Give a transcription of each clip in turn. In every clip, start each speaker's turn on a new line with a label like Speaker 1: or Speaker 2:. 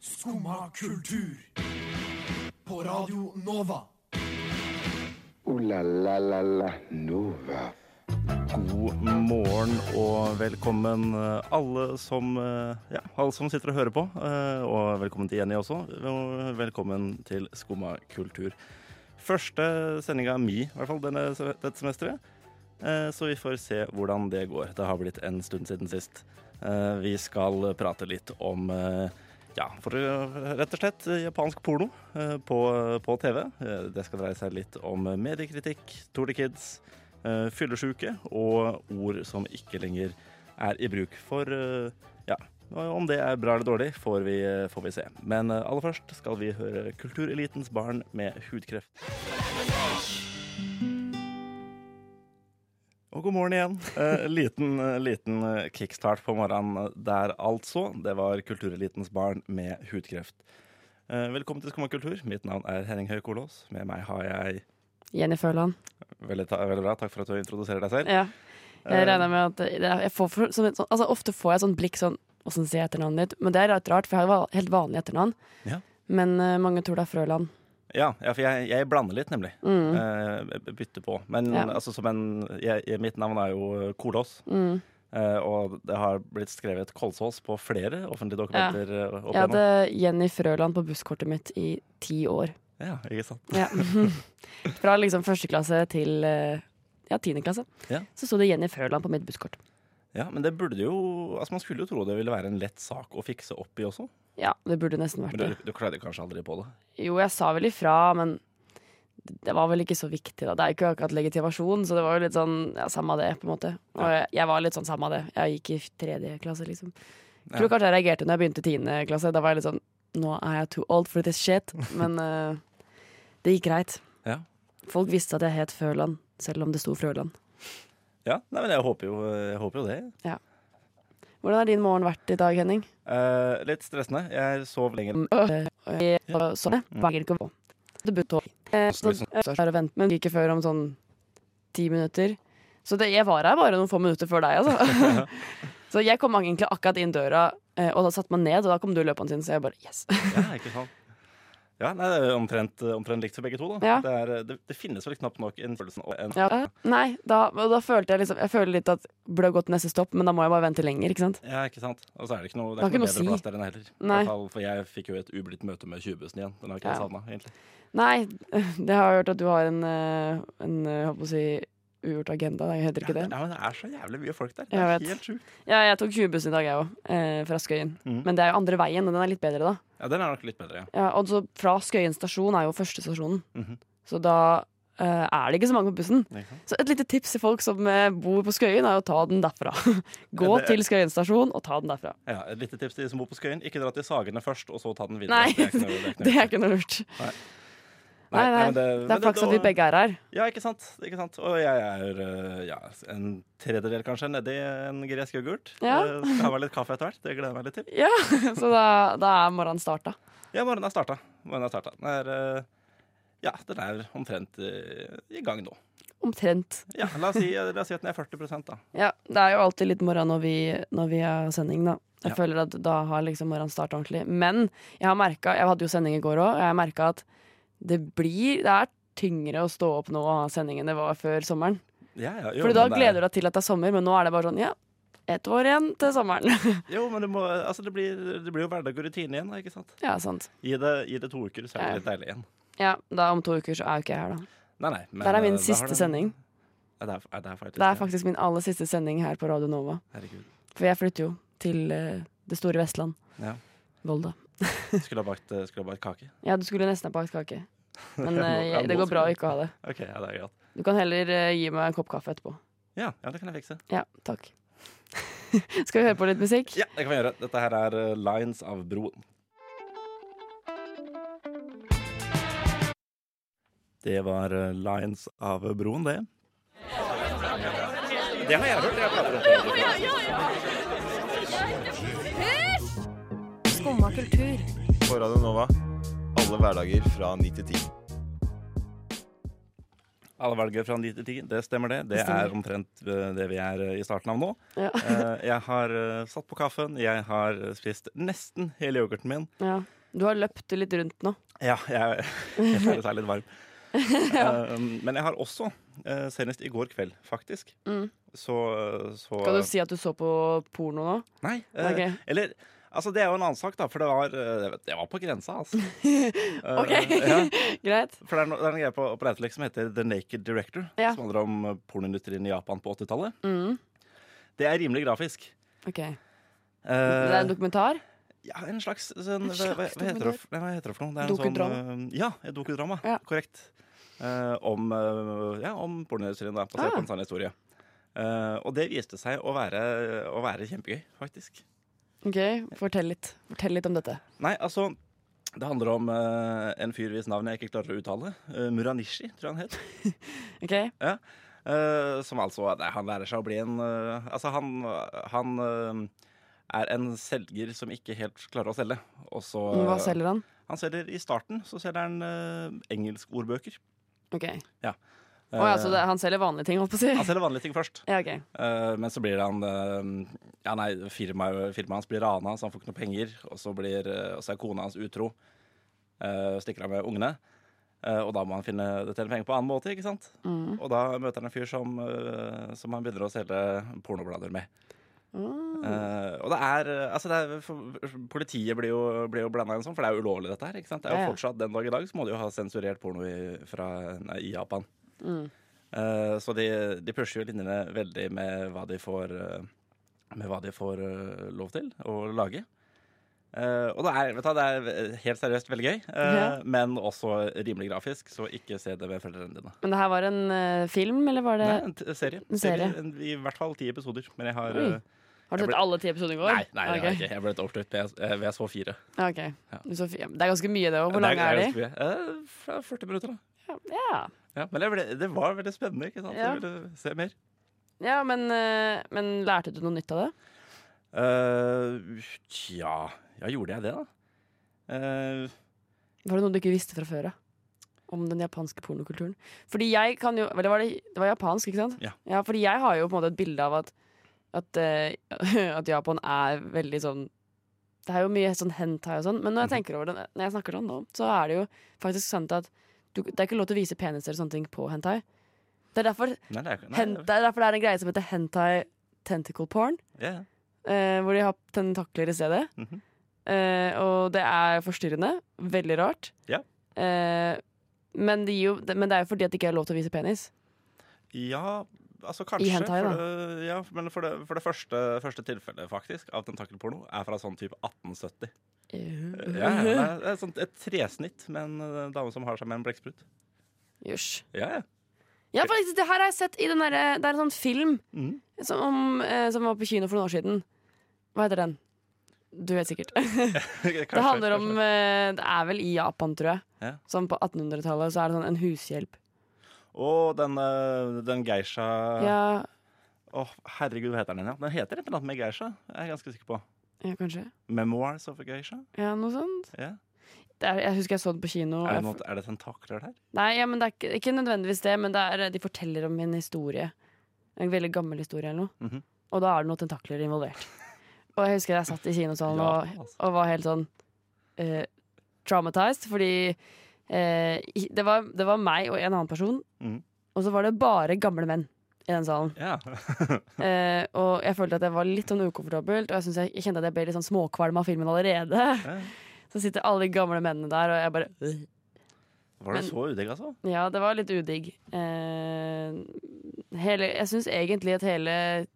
Speaker 1: Skumma kultur. På Radio Nova.
Speaker 2: Ooh la la la la Nova.
Speaker 3: God morgen og velkommen eh, alle som, eh, ja, alle som sitter og hører på. eh, Og velkommen til Jenny også. Og velkommen til Skumma kultur. Første sendinga mi, i hvert fall denne, se- dette semesteret. Eh, Så vi får se hvordan det går. Det har blitt en stund siden sist. Eh, Vi skal prate litt om eh, ja, for eh, rett og slett eh, japansk porno eh, på, på TV. Eh, Det skal dreie seg litt om mediekritikk, Tour de Kids, eh, fyllesyke og ord som ikke lenger er i bruk. For eh, ja, om det er bra eller dårlig, får vi, får vi se. Men eh, aller først skal vi høre Kulturelitens barn med hudkreft. Og god morgen igjen. Eh, liten, eh, liten eh, kickstart på morgenen der, altså. Det var Kulturelitens barn med hudkreft. Eh, velkommen til Skumma kultur. Mitt navn er Henning Høie Kolås. Med meg har jeg
Speaker 4: Jenny Føland.
Speaker 3: Veldig, ta veldig bra. Takk for at du introduserer deg selv.
Speaker 4: Ja.
Speaker 3: Eh,
Speaker 4: Jeg regner med at det er- jeg får for, sånn, sånn, altså, Ofte får jeg sånn blikk sånn Åssen sier jeg etternavnet ditt? Men det er rart, rart for jeg har va- helt vanlig etternavn.
Speaker 3: Ja.
Speaker 4: Men eh, mange tror det er Frøland.
Speaker 3: Ja, ja, for jeg, jeg blander litt, nemlig.
Speaker 4: Mm.
Speaker 3: Eh, jeg bytter på. Men
Speaker 4: Ja.
Speaker 3: altså, som en jeg, jeg, Mitt navn er jo Kolås.
Speaker 4: Mm.
Speaker 3: eh, og det har blitt skrevet Kolsås på flere offentlige
Speaker 4: Ja.
Speaker 3: dokumenter. eh, opp
Speaker 4: Jeg
Speaker 3: igjennom.
Speaker 4: hadde Jenny Frøland på busskortet mitt i ti år.
Speaker 3: ja, ikke sant?
Speaker 4: Ja. Fra liksom første klasse til eh, ja, tiende klasse.
Speaker 3: Ja.
Speaker 4: Så sto det Jenny Frøland på mitt busskort.
Speaker 3: Ja, men det burde jo Altså, man skulle jo tro det ville være en lett sak å fikse opp i også.
Speaker 4: Ja, det burde nesten vært
Speaker 3: Men du,
Speaker 4: det.
Speaker 3: du klarte kanskje aldri på det?
Speaker 4: Jo, jeg sa vel ifra, men det var vel ikke så viktig da. Det er jo ikke akkurat legitimasjon, så det var jo litt sånn ja, samme av det, på en måte. Og jeg, jeg var litt sånn samme av det. Jeg gikk i tredje klasse, liksom. Jeg tror
Speaker 3: Ja.
Speaker 4: kanskje jeg reagerte når jeg begynte i tiende klasse. Da var jeg litt sånn Nå er jeg too old for this shit. Men eh, det gikk greit.
Speaker 3: Ja.
Speaker 4: Folk visste at jeg het Frøland, selv om det sto Frøland.
Speaker 3: Ja, nei, men jeg håper jo, jeg håper jo det.
Speaker 4: Hvordan har din morgen vært i dag, Henning?
Speaker 3: Eh, litt stressende. Jeg sov lenger.
Speaker 4: Øh, øh, øh, Sånn, jeg bager ikke på. Det burde tåle. Eh, så, eh, så er det vent, men ikke før om sånn ti minutter. Så det, jeg var her bare noen få minutter før deg, altså. så jeg kom egentlig akkurat inn døra, eh, og da satte man ned, og da kom du løpende inn, sånn så jeg bare yes.
Speaker 3: Ja, ikke sant? Ja, nei, det er jo omtrent, omtrent likt for begge to, da.
Speaker 4: Ja.
Speaker 3: Det, er, det, det finnes vel knapt nok en følelse og en
Speaker 4: Ja. eh, Nei, da, og da følte jeg liksom Jeg føler litt at burde ha gått neste stopp, men da må jeg bare vente lenger, ikke sant?
Speaker 3: Ja, ikke sant? Og så er det ikke noe, det
Speaker 4: Det har
Speaker 3: er ikke noe
Speaker 4: ikke
Speaker 3: bedre
Speaker 4: noe å
Speaker 3: plass der enn heller. I
Speaker 4: Nei.
Speaker 3: hvert fall, For jeg fikk jo et ublidt møte med 20-bussen igjen. Den har ikke jeg
Speaker 4: Ja.
Speaker 3: savna, egentlig.
Speaker 4: Nei, det har jeg hørt at du har en, eh, en eh, håper å si, ugjort agenda. Det heter
Speaker 3: Ja,
Speaker 4: ikke det.
Speaker 3: det, ja, men det er så jævlig mye folk der. Det
Speaker 4: Jeg
Speaker 3: er
Speaker 4: vet.
Speaker 3: helt sjukt.
Speaker 4: Ja, jeg tok 20-bussen i dag, jeg òg, eh, fra Skøyen.
Speaker 3: Mhm.
Speaker 4: Men det er jo andre veien, og den er litt bedre, da. Eh,
Speaker 3: Ja, den er nok litt bedre, ja.
Speaker 4: Ja, og så fra Skøyen stasjon er jo første stasjonen.
Speaker 3: Mhm.
Speaker 4: Så da eh, er det ikke så mange på bussen.
Speaker 3: Ikke sant?
Speaker 4: Så et lite tips til folk som eh, bor på Skøyen, er å ta den derfra. Gå
Speaker 3: Ja, det-
Speaker 4: til Skøyen stasjon og ta den derfra.
Speaker 3: Ja, Et lite tips til de som bor på Skøyen. Ikke dra til Sagene først, og så ta den videre.
Speaker 4: Nei,
Speaker 3: Det er ikke noe- det er ikke noe
Speaker 4: Det er ikke noe lurt. Nei, nei,
Speaker 3: men
Speaker 4: Det
Speaker 3: men
Speaker 4: er flaks at vi
Speaker 3: da-
Speaker 4: begge er her.
Speaker 3: Ja, ikke sant. ikke sant Og jeg er øh, ja, en tredjedel kanskje nedi en gresk yoghurt.
Speaker 4: Ja.
Speaker 3: Eh, Skal ha meg litt kaffe etter hvert. Det gleder jeg meg litt til.
Speaker 4: Ja, Så da, da er morgenen starta.
Speaker 3: Ja, morgenen er starta. Morgenen er starta. Den er, øh, ja, den er omtrent øh, i gang nå.
Speaker 4: Omtrent.
Speaker 3: Ja, la oss si, eh, la oss si at den er 40 da.
Speaker 4: Ja, Det er jo alltid litt morgen når vi, når vi har sending, da. Jeg
Speaker 3: Ja.
Speaker 4: føler at da har liksom morgenen starta ordentlig. Men jeg har merket, jeg hadde jo sending i går òg, og jeg har merka at det blir Det er tyngre å stå opp nå og ha sending enn det var før sommeren.
Speaker 3: Ja, ja,
Speaker 4: For da gleder du deg til at det er sommer, men nå er det bare sånn ja, ett år igjen til sommeren.
Speaker 3: Jo, men du må, altså, det, blir, det blir jo hverdag og rutine igjen, da, ikke sant.
Speaker 4: ja, sant.
Speaker 3: Gi det, gi det to uker, så er
Speaker 4: Ja.
Speaker 3: det litt deilig igjen.
Speaker 4: Ja, da om to uker så er jo ikke jeg her, da.
Speaker 3: Nei, nei, men,
Speaker 4: Der
Speaker 3: øh,
Speaker 4: er min
Speaker 3: da har
Speaker 4: siste
Speaker 3: du-
Speaker 4: sending.
Speaker 3: Ja, det er, ja, det er faktisk
Speaker 4: Det er faktisk min aller siste sending her på Radio Nova.
Speaker 3: Herregud.
Speaker 4: For jeg flytter jo til eh, det store Vestland.
Speaker 3: Ja.
Speaker 4: Volda.
Speaker 3: Skulle ha bakt, eh, skulle ha bakt kake.
Speaker 4: Ja, du skulle nesten ha bakt kake. Men
Speaker 3: Jeg må-
Speaker 4: eh,
Speaker 3: jeg
Speaker 4: det
Speaker 3: må
Speaker 4: går bra
Speaker 3: skulle-
Speaker 4: å ikke ha det.
Speaker 3: OK, ja, det er greit.
Speaker 4: Du kan heller eh, gi meg en kopp kaffe etterpå.
Speaker 3: Ja, ja, det kan jeg fikse.
Speaker 4: Ja, takk. Skal vi høre på litt musikk?
Speaker 3: Ja, det kan vi gjøre. Dette her er eh, Lines av Broen. Det var eh, Lines av Broen, det. Det har jeg hørt. Jeg prater om det.
Speaker 5: Skumma kultur.
Speaker 6: på Radio Nova. Alle hverdager fra 9 til 10.
Speaker 3: Alle velger fra 9 til 10. Det stemmer, det. Det
Speaker 4: Det stemmer.
Speaker 3: er omtrent eh, det vi er eh, i starten av nå.
Speaker 4: Ja.
Speaker 3: Eh, Jeg har eh, satt på kaffen. Jeg har eh, spist nesten hele yoghurten min.
Speaker 4: Ja. Du har løpt litt rundt nå.
Speaker 3: Ja, jeg, jeg føler seg litt varm. Eh, men jeg har også, eh, senest i går kveld, faktisk,
Speaker 4: Mm.
Speaker 3: så, så
Speaker 4: Skal du si at du så på porno nå?
Speaker 3: Nei. eh,
Speaker 4: Ok.
Speaker 3: Eller Altså, Det er jo en annen sak, da, for det var, eh, det var på grensa, altså. Eh,
Speaker 4: Ok.
Speaker 3: ja.
Speaker 4: Greit.
Speaker 3: For det er, no, det er en greie på, på Netflix som heter The Naked Director.
Speaker 4: Ja.
Speaker 3: Som handler om eh, pornoindustrien i Japan på 80-tallet.
Speaker 4: Mm.
Speaker 3: Det er rimelig grafisk.
Speaker 4: Ok.
Speaker 3: Eh,
Speaker 4: Det er en dokumentar?
Speaker 3: ja, en slags, sånn,
Speaker 4: En
Speaker 3: hva- hva,
Speaker 4: slags
Speaker 3: hva, heter det, for- nei, hva heter det for noe? Det er en
Speaker 4: Dokudrama.
Speaker 3: Sånn, eh, ja, et dokudrama.
Speaker 4: Ja.
Speaker 3: Korrekt. Eh, om eh, ja, om pornoindustrien, da, basert
Speaker 4: Ah.
Speaker 3: på en sann historie. Eh, og det viste seg å være, å være kjempegøy, faktisk.
Speaker 4: Ok, Fortell litt Fortell litt om dette.
Speaker 3: Nei, altså det handler om eh, en fyr hvis navn jeg ikke klarer å uttale. Eh, Muranishi, tror jeg han het.
Speaker 4: Ok?
Speaker 3: Eh, som altså nei, Han lærer seg å bli en eh, Altså, han, han eh, er en selger som ikke helt klarer å selge. Og så
Speaker 4: Men Hva selger han?
Speaker 3: Han selger i starten så selger han eh, engelskordbøker.
Speaker 4: Ok.
Speaker 3: Eh,
Speaker 4: Å ja, så det, han selger vanlige ting, holdt på å si?
Speaker 3: Han selger vanlige ting først.
Speaker 4: Ja, ok.
Speaker 3: Eh, men så blir han eh, Ja, nei, firmaet, firmaet hans blir rana, så han får ikke noe penger. Og så, blir, eh, og så er kona hans utro. Eh, stikker av med ungene. Eh, og da må han finne det til penger på annen måte. ikke sant?
Speaker 4: Mm.
Speaker 3: Og da møter han en fyr som, eh, som han begynner å selge pornoblader med.
Speaker 4: Mm.
Speaker 3: Eh, og det er eh, Altså, det er, for, politiet blir jo, blir jo blanda inn sånn, for det er jo ulovlig, dette her. ikke sant? Det er
Speaker 4: Ja,
Speaker 3: jo
Speaker 4: ja.
Speaker 3: fortsatt, Den dag i dag så må de jo ha sensurert porno i, fra, nei, i Japan.
Speaker 4: Mm.
Speaker 3: Eh, så de, de pusher jo linjene veldig med hva de får, eh, med hva de får eh, lov til å lage. Eh, og det er, vet du, hva, det er helt seriøst veldig gøy, eh,
Speaker 4: Ja.
Speaker 3: men også rimelig grafisk, så ikke se det med foreldrene dine.
Speaker 4: Men det her var en eh, film, eller var det
Speaker 3: Nei, en t serie.
Speaker 4: en serie.
Speaker 3: Serie, en- I hvert fall ti episoder. Men jeg har
Speaker 4: Oi.
Speaker 3: eh, jeg
Speaker 4: Har du sett
Speaker 3: ble-
Speaker 4: alle ti episodene i går?
Speaker 3: Nei, nei det har jeg
Speaker 4: Ok.
Speaker 3: ikke. Jeg ble litt oppslukt ved jeg- ved jeg så fire.
Speaker 4: Ja, ok.
Speaker 3: Ja.
Speaker 4: Du så fi- ja, men Det er ganske mye, det òg. Hvor lange er de?
Speaker 3: ganske mye. Eh, fra 40 minutter, da.
Speaker 4: Ja,
Speaker 3: Ja, men jeg ble, det var veldig spennende. ikke sant?
Speaker 4: Ja.
Speaker 3: Jeg ville se mer.
Speaker 4: ja men, eh, men lærte du noe nytt av det?
Speaker 3: Eh, tja Ja, gjorde jeg det, da? Eh,
Speaker 4: Var det noe du ikke visste fra før av? Om den japanske pornokulturen? Fordi jeg kan jo Eller var det, det var japansk, ikke sant?
Speaker 3: Ja.
Speaker 4: fordi jeg har jo på en måte et bilde av at at, eh, at Japan er veldig sånn Det er jo mye sånn hentai og sånn, men
Speaker 3: Mhm.
Speaker 4: når jeg tenker over det Når jeg snakker sånn nå, så er det jo faktisk sant at du, det er ikke lov til å vise peniser og sånne ting på hentai. Det er derfor,
Speaker 3: nei, det er ikke
Speaker 4: hen,
Speaker 3: nei,
Speaker 4: det, er derfor det er en greie som heter hentai tentacle porn,
Speaker 3: ja, ja.
Speaker 4: eh, hvor de har tentakler i stedet.
Speaker 3: Mhm.
Speaker 4: Eh, og det er forstyrrende. Veldig rart.
Speaker 3: Ja.
Speaker 4: Eh, men, det gir jo, det, men det er jo fordi at det ikke er lov til å vise penis.
Speaker 3: ja, altså kanskje.
Speaker 4: hentai,
Speaker 3: for
Speaker 4: da.
Speaker 3: det, ja, men for det, for det første, første tilfellet faktisk av tentakelporno er fra sånn type 1870. Ja, ja, det er- det er sånn et tresnitt med en eh, dame som har seg med en blekksprut.
Speaker 4: Jøsj.
Speaker 3: Ja, ja.
Speaker 4: Ja, faktisk, det her har jeg sett i den derre Det er en sånn film
Speaker 3: Mhm.
Speaker 4: som, om, eh, som var på kino for noen år siden. Hva heter den? Du vet sikkert.
Speaker 3: Kanskje,
Speaker 4: det handler om
Speaker 3: kanskje.
Speaker 4: eh, Det er vel i Japan, tror jeg.
Speaker 3: Ja.
Speaker 4: Sånn på 1800-tallet så er det sånn en hushjelp.
Speaker 3: Og den, eh, den geisha
Speaker 4: Ja,
Speaker 3: Åh, herregud, hva heter den igjen? Den heter et eller annet med Geisha. Jeg er ganske sikker på.
Speaker 4: ja kanskje.
Speaker 3: Memoirs of a Geisha?
Speaker 4: Ja, noe sånt.
Speaker 3: Ja.
Speaker 4: Det er, jeg husker jeg så den på kino.
Speaker 3: Er, det
Speaker 4: Jeg-
Speaker 3: noe, er det tentakler der?
Speaker 4: Nei, ja, men det er ikke, ikke nødvendigvis det, men det er, eh, de forteller om en historie. En veldig gammel historie eller noe.
Speaker 3: Mhm.
Speaker 4: Og da er det noen tentakler involvert. Og jeg husker jeg satt i kinosalen
Speaker 3: Ja,
Speaker 4: og,
Speaker 3: altså.
Speaker 4: og var helt sånn eh, traumatized, fordi eh, i- det, var, det var meg og en annen person,
Speaker 3: Mhm.
Speaker 4: og så var det bare gamle menn i den salen.
Speaker 3: Ja.
Speaker 4: Eh, og jeg følte at jeg var litt sånn ukomfortabelt, og jeg, synes jeg, jeg kjente at jeg ble litt sånn småkvalm av filmen allerede.
Speaker 3: Ja.
Speaker 4: Så sitter alle de gamle mennene der, og jeg bare øh.
Speaker 3: Var det
Speaker 4: Men-
Speaker 3: så udigg, altså?
Speaker 4: Ja, det var litt udigg. Eh, hele, jeg syns egentlig at hele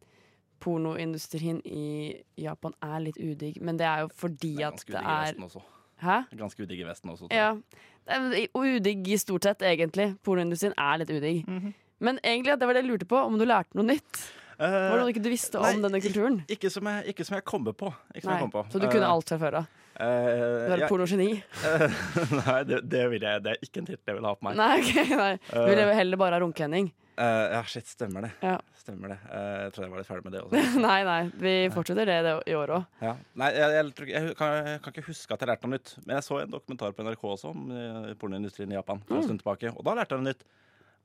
Speaker 4: pornoindustrien i Japan er litt udigg, men det er jo fordi
Speaker 3: Det er ganske udigg i
Speaker 4: at det er
Speaker 3: Vesten også.
Speaker 4: Hæ?
Speaker 3: Ganske udigg i Vesten også. tror jeg.
Speaker 4: Ja. Det er i- Udigg i stort sett, egentlig. Pornoindustrien er litt udigg. Men egentlig at det var det jeg lurte på, om du lærte noe nytt?
Speaker 3: Eh,
Speaker 4: Var det noe ikke du visste om
Speaker 3: nei,
Speaker 4: denne kulturen?
Speaker 3: ikke, som jeg, ikke som jeg kommer på. Ikke som jeg
Speaker 4: Nei.
Speaker 3: kommer på. Eh,
Speaker 4: Så du kunne alt fra før av? Du
Speaker 3: Uh,
Speaker 4: er et pornogeni?
Speaker 3: nei, det, det, vil jeg, det er ikke en tittel jeg vil ha på meg.
Speaker 4: Nei, ok, nei. Du ville jo heller bare ha runkehending.
Speaker 3: Eh, ja, shit, stemmer det.
Speaker 4: Ja.
Speaker 3: Stemmer det. Eh, jeg trodde jeg var litt ferdig med det også.
Speaker 4: Nei, nei. Vi fortsetter det det- i år òg.
Speaker 3: Ja. Nei, jeg, jeg, tror ikke- jeg, kan, jeg kan ikke huske at jeg lærte noe nytt. Men jeg så en dokumentar på NRK også om eh, pornoindustrien i Japan.
Speaker 4: Mm.
Speaker 3: For en stund tilbake Og da lærte jeg noe nytt.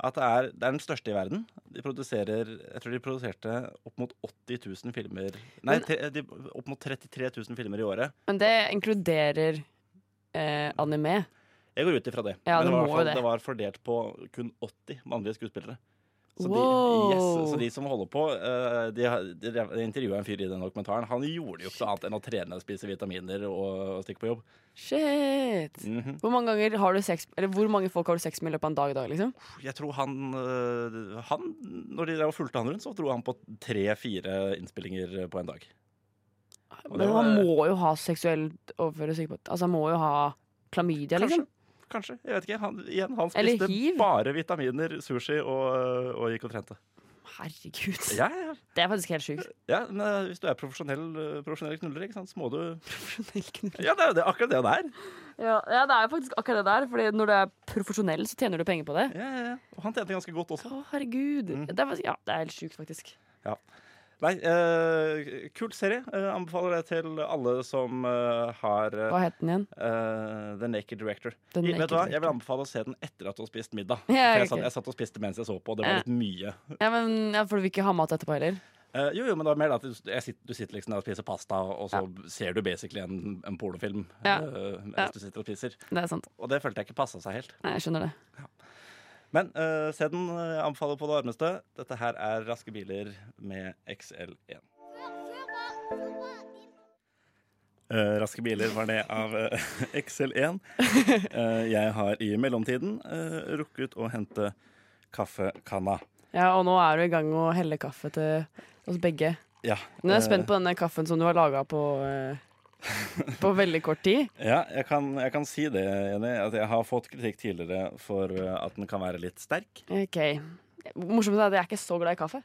Speaker 3: At det er, det er den største i verden. De produserer Jeg tror de produserte opp mot 80 000 filmer Nei,
Speaker 4: Men-
Speaker 3: tre, de, opp mot 33 000 filmer i året.
Speaker 4: Men det inkluderer eh, anime.
Speaker 3: Jeg går ut ifra det.
Speaker 4: Ja,
Speaker 3: Men
Speaker 4: det
Speaker 3: var i
Speaker 4: må
Speaker 3: hvert
Speaker 4: jo
Speaker 3: fall,
Speaker 4: det.
Speaker 3: det var fordelt på kun 80 mannlige skuespillere. Så,
Speaker 4: Wow.
Speaker 3: de, yes, så de som holder på eh, De, har- de, de intervjua en fyr i den dokumentaren. Han gjorde jo ikke annet enn å trene, spise vitaminer og, og stikke på jobb.
Speaker 4: Shit!
Speaker 3: Mhm.
Speaker 4: Hvor mange, ganger har du sex, eller hvor mange folk har du sex med i løpet av en dag i dag, liksom?
Speaker 3: Jeg tror han, eh, han Når de drev og fulgte han rundt, så dro han på tre-fire innspillinger på en dag. Og det
Speaker 4: Men han
Speaker 3: var-
Speaker 4: må jo ha seksuelt overført sykepleier. Altså, han må jo ha klamydia, liksom.
Speaker 3: Kanskje. Jeg vet ikke. Han, igjen, han
Speaker 4: Eller
Speaker 3: spiste
Speaker 4: hiv.
Speaker 3: bare vitaminer, sushi og, og gikk og trente.
Speaker 4: Herregud.
Speaker 3: Ja, ja,
Speaker 4: Det er faktisk helt sjukt.
Speaker 3: ja, men eh, hvis du er profesjonell, eh, profesjonell knuller, ikke sant, så må du
Speaker 4: Profesjonell knull.
Speaker 3: Ja, det er jo det, akkurat det det er.
Speaker 4: Ja, ja, det er jo faktisk akkurat det der. Fordi når du er profesjonell, så tjener du penger på det.
Speaker 3: Ja, ja, ja. Og han tjente ganske godt også.
Speaker 4: Å, herregud.
Speaker 3: Mm.
Speaker 4: Det, er, faktisk- ja, det er helt sjukt, faktisk.
Speaker 3: Nei, eh, kul serie. Eh, anbefaler det til alle som eh, har eh,
Speaker 4: Hva het den igjen?
Speaker 3: eh, The Naked Director.
Speaker 4: The
Speaker 3: I-
Speaker 4: Naked
Speaker 3: Vet du hva?
Speaker 4: Director.
Speaker 3: Jeg vil anbefale å se den etter at du har spist middag.
Speaker 4: Ja,
Speaker 3: For jeg,
Speaker 4: ok.
Speaker 3: satt, jeg satt og spiste mens jeg så på, og det var
Speaker 4: Ja.
Speaker 3: litt mye.
Speaker 4: Ja, men ja, For du vil ikke ha mat etterpå heller?
Speaker 3: Eh, jo, jo, men det var mer det at du, jeg sitter, du sitter liksom der og spiser pasta, og så ser du basically en, en pornofilm
Speaker 4: Ja.
Speaker 3: eh, mens
Speaker 4: Ja.
Speaker 3: du sitter og spiser.
Speaker 4: Det er sant.
Speaker 3: Og det følte jeg ikke passa seg helt.
Speaker 4: Nei, jeg skjønner det.
Speaker 3: Men eh, se den. eh, anbefaler på det varmeste. Dette her er Raske biler med XL1. Eh, raske biler var det av eh, XL1. Eh, jeg har i mellomtiden eh, rukket å hente kaffekanna.
Speaker 4: Ja, Og nå er du i gang med å helle kaffe til oss begge.
Speaker 3: Ja,
Speaker 4: Nå er jeg
Speaker 3: eh,
Speaker 4: spent på denne kaffen som du har laga på, eh, på veldig kort tid.
Speaker 3: Ja, jeg kan, jeg kan si det, Jenny. At jeg har fått kritikk tidligere for eh, at den kan være litt sterk.
Speaker 4: Ok Morsomt er at jeg er ikke så glad i kaffe.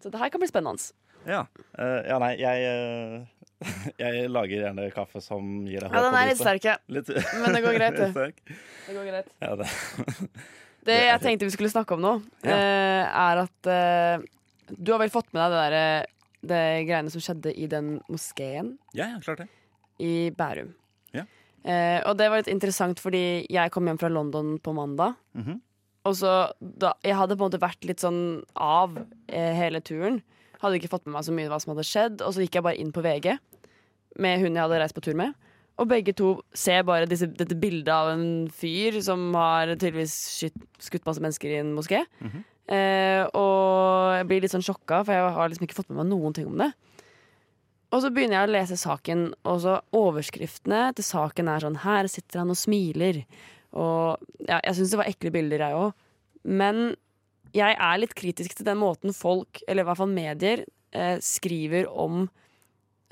Speaker 4: Så det her kan bli spennende.
Speaker 3: Ja, eh, ja nei, jeg, eh, jeg lager gjerne kaffe som gir deg håp.
Speaker 4: Ja, den
Speaker 3: og
Speaker 4: er litt
Speaker 3: lyset.
Speaker 4: sterk, ja.
Speaker 3: Litt,
Speaker 4: Men det går greit, det.
Speaker 3: litt sterk.
Speaker 4: Det går greit.
Speaker 3: Ja, det.
Speaker 4: Det jeg tenkte vi skulle snakke om nå,
Speaker 3: Ja.
Speaker 4: eh, er at eh, Du har vel fått med deg det derre Det greiene som skjedde i den moskeen
Speaker 3: ja, ja, klart det.
Speaker 4: i Bærum.
Speaker 3: Ja.
Speaker 4: Eh, og det var litt interessant, fordi jeg kom hjem fra London på mandag.
Speaker 3: Mhm.
Speaker 4: Og så da, Jeg hadde på en måte vært litt sånn av eh, hele turen. Hadde ikke fått med meg så mye hva som hadde skjedd. Og så gikk jeg bare inn på VG med hun jeg hadde reist på tur med. Og begge to ser bare disse, dette bildet av en fyr som har tydeligvis skytt, skutt masse mennesker i en moské.
Speaker 3: Mhm.
Speaker 4: eh, og jeg blir litt sånn sjokka, for jeg har liksom ikke fått med meg noen ting om det. Og så begynner jeg å lese saken, og så overskriftene til saken er sånn Her sitter han og smiler. Og ja, jeg syns det var ekle bilder, jeg òg. Men jeg er litt kritisk til den måten folk, eller i hvert fall medier, eh, skriver om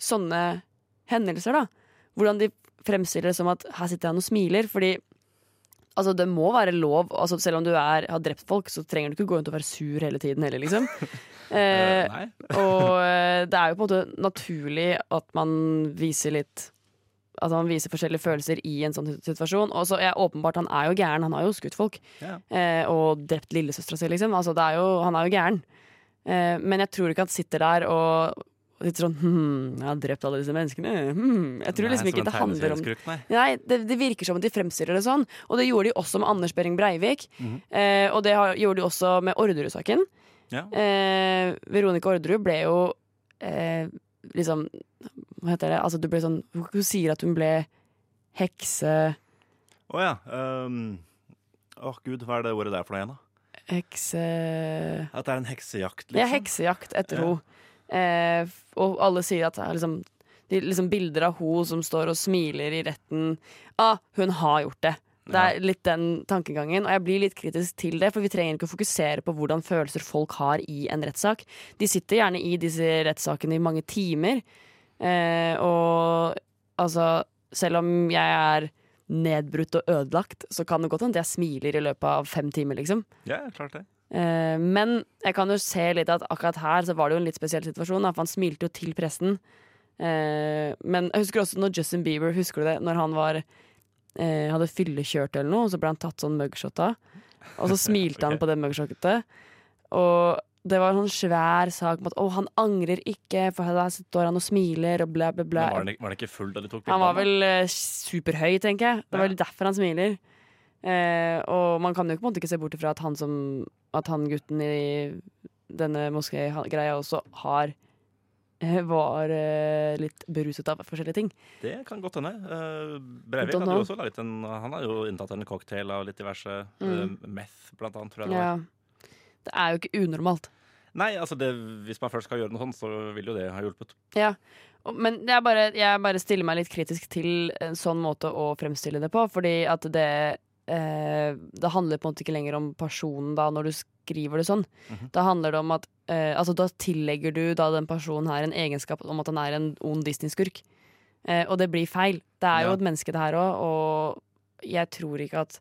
Speaker 4: sånne hendelser, da. Hvordan de fremstiller det som at her sitter han og smiler, fordi Altså, det må være lov. Altså, selv om du er, har drept folk, så trenger du ikke gå rundt og være sur hele tiden heller, liksom. Eh,
Speaker 3: Eh, nei.
Speaker 4: og eh, det er jo på en måte naturlig at man viser litt At man viser forskjellige følelser i en sånn situasjon. Og så er åpenbart, han er jo gæren. Han har jo skutt folk.
Speaker 3: Ja.
Speaker 4: Eh, og drept lillesøstera si, liksom. Altså, det er jo, han er jo gæren. Eh, men jeg tror ikke han sitter der og og sitter sånn Hm, jeg har drept alle disse menneskene. Hm. Jeg tror liksom ikke det handler om Nei, det, det virker som at de fremstiller det sånn. Og det gjorde de også med Anders Behring Breivik. eh, og det har, gjorde de også med Orderud-saken.
Speaker 3: Ja.
Speaker 4: Eh, Veronica Orderud ble jo eh, liksom Hva heter det? Altså, du ble sånn Hun sier at hun ble hekse...
Speaker 3: Å ja. ehm, Åh, gud, hva er det ordet der for noe igjen, da?
Speaker 4: Hekse...
Speaker 3: At det er en heksejakt,
Speaker 4: Det er
Speaker 3: liksom?
Speaker 4: heksejakt etter
Speaker 3: Ja.
Speaker 4: henne. Eh, f- og alle sier at det er liksom, de, liksom bilder av henne som står og smiler i retten Ah, hun har gjort det. Det er litt den tankegangen, og jeg blir litt kritisk til det. For vi trenger ikke å fokusere på hvordan følelser folk har i en rettssak. De sitter gjerne i disse rettssakene i mange timer. Eh, og altså, selv om jeg er nedbrutt og ødelagt, så kan det godt hende jeg smiler i løpet av fem timer, liksom.
Speaker 3: Ja, klart det.
Speaker 4: Eh, men jeg kan jo se litt at akkurat her så var det jo en litt spesiell situasjon, da, for han smilte jo til pressen. Eh, men jeg husker også når Justin Bieber, husker du det, når han var eh, hadde fyllekjørt eller noe, og så ble han tatt sånn mugshot av. Og så smilte han
Speaker 3: Ok.
Speaker 4: på det mugshotet. Og det var en sånn svær sak om at å, han angrer ikke, for her står han og smiler, og bla, bla, bla.
Speaker 3: Men var, den, ikke- var den ikke full da de tok
Speaker 4: Han var
Speaker 3: bildene?
Speaker 4: vel eh, superhøy, tenker jeg. Det var vel derfor han smiler. Eh, og man kan jo på en måte ikke se bort ifra at han som At han gutten i denne moskégreia også har eh, var eh, litt beruset av forskjellige ting.
Speaker 3: Det kan godt hende. Eh, Breivik
Speaker 4: Don't
Speaker 3: hadde
Speaker 4: know.
Speaker 3: jo også laget en Han har jo inntatt en cocktail av litt diverse
Speaker 4: Mm.
Speaker 3: eh, meth, blant annet, tror jeg det var.
Speaker 4: Ja. Det er jo ikke unormalt.
Speaker 3: Nei, altså det, hvis man først skal gjøre noe sånt, så vil jo det ha hjulpet.
Speaker 4: Ja. Og- Men jeg bare, jeg bare stiller meg litt kritisk til en sånn måte å fremstille det på, fordi at det eh, Det handler på en måte ikke lenger om personen da, når du skriver det sånn.
Speaker 3: Mhm.
Speaker 4: Da handler det om at eh, Altså, da tillegger du da den personen her en egenskap om at han er en ond Disney-skurk. Eh, og det blir feil. Det er jo
Speaker 3: Ja.
Speaker 4: et menneske, det her òg, og jeg tror ikke at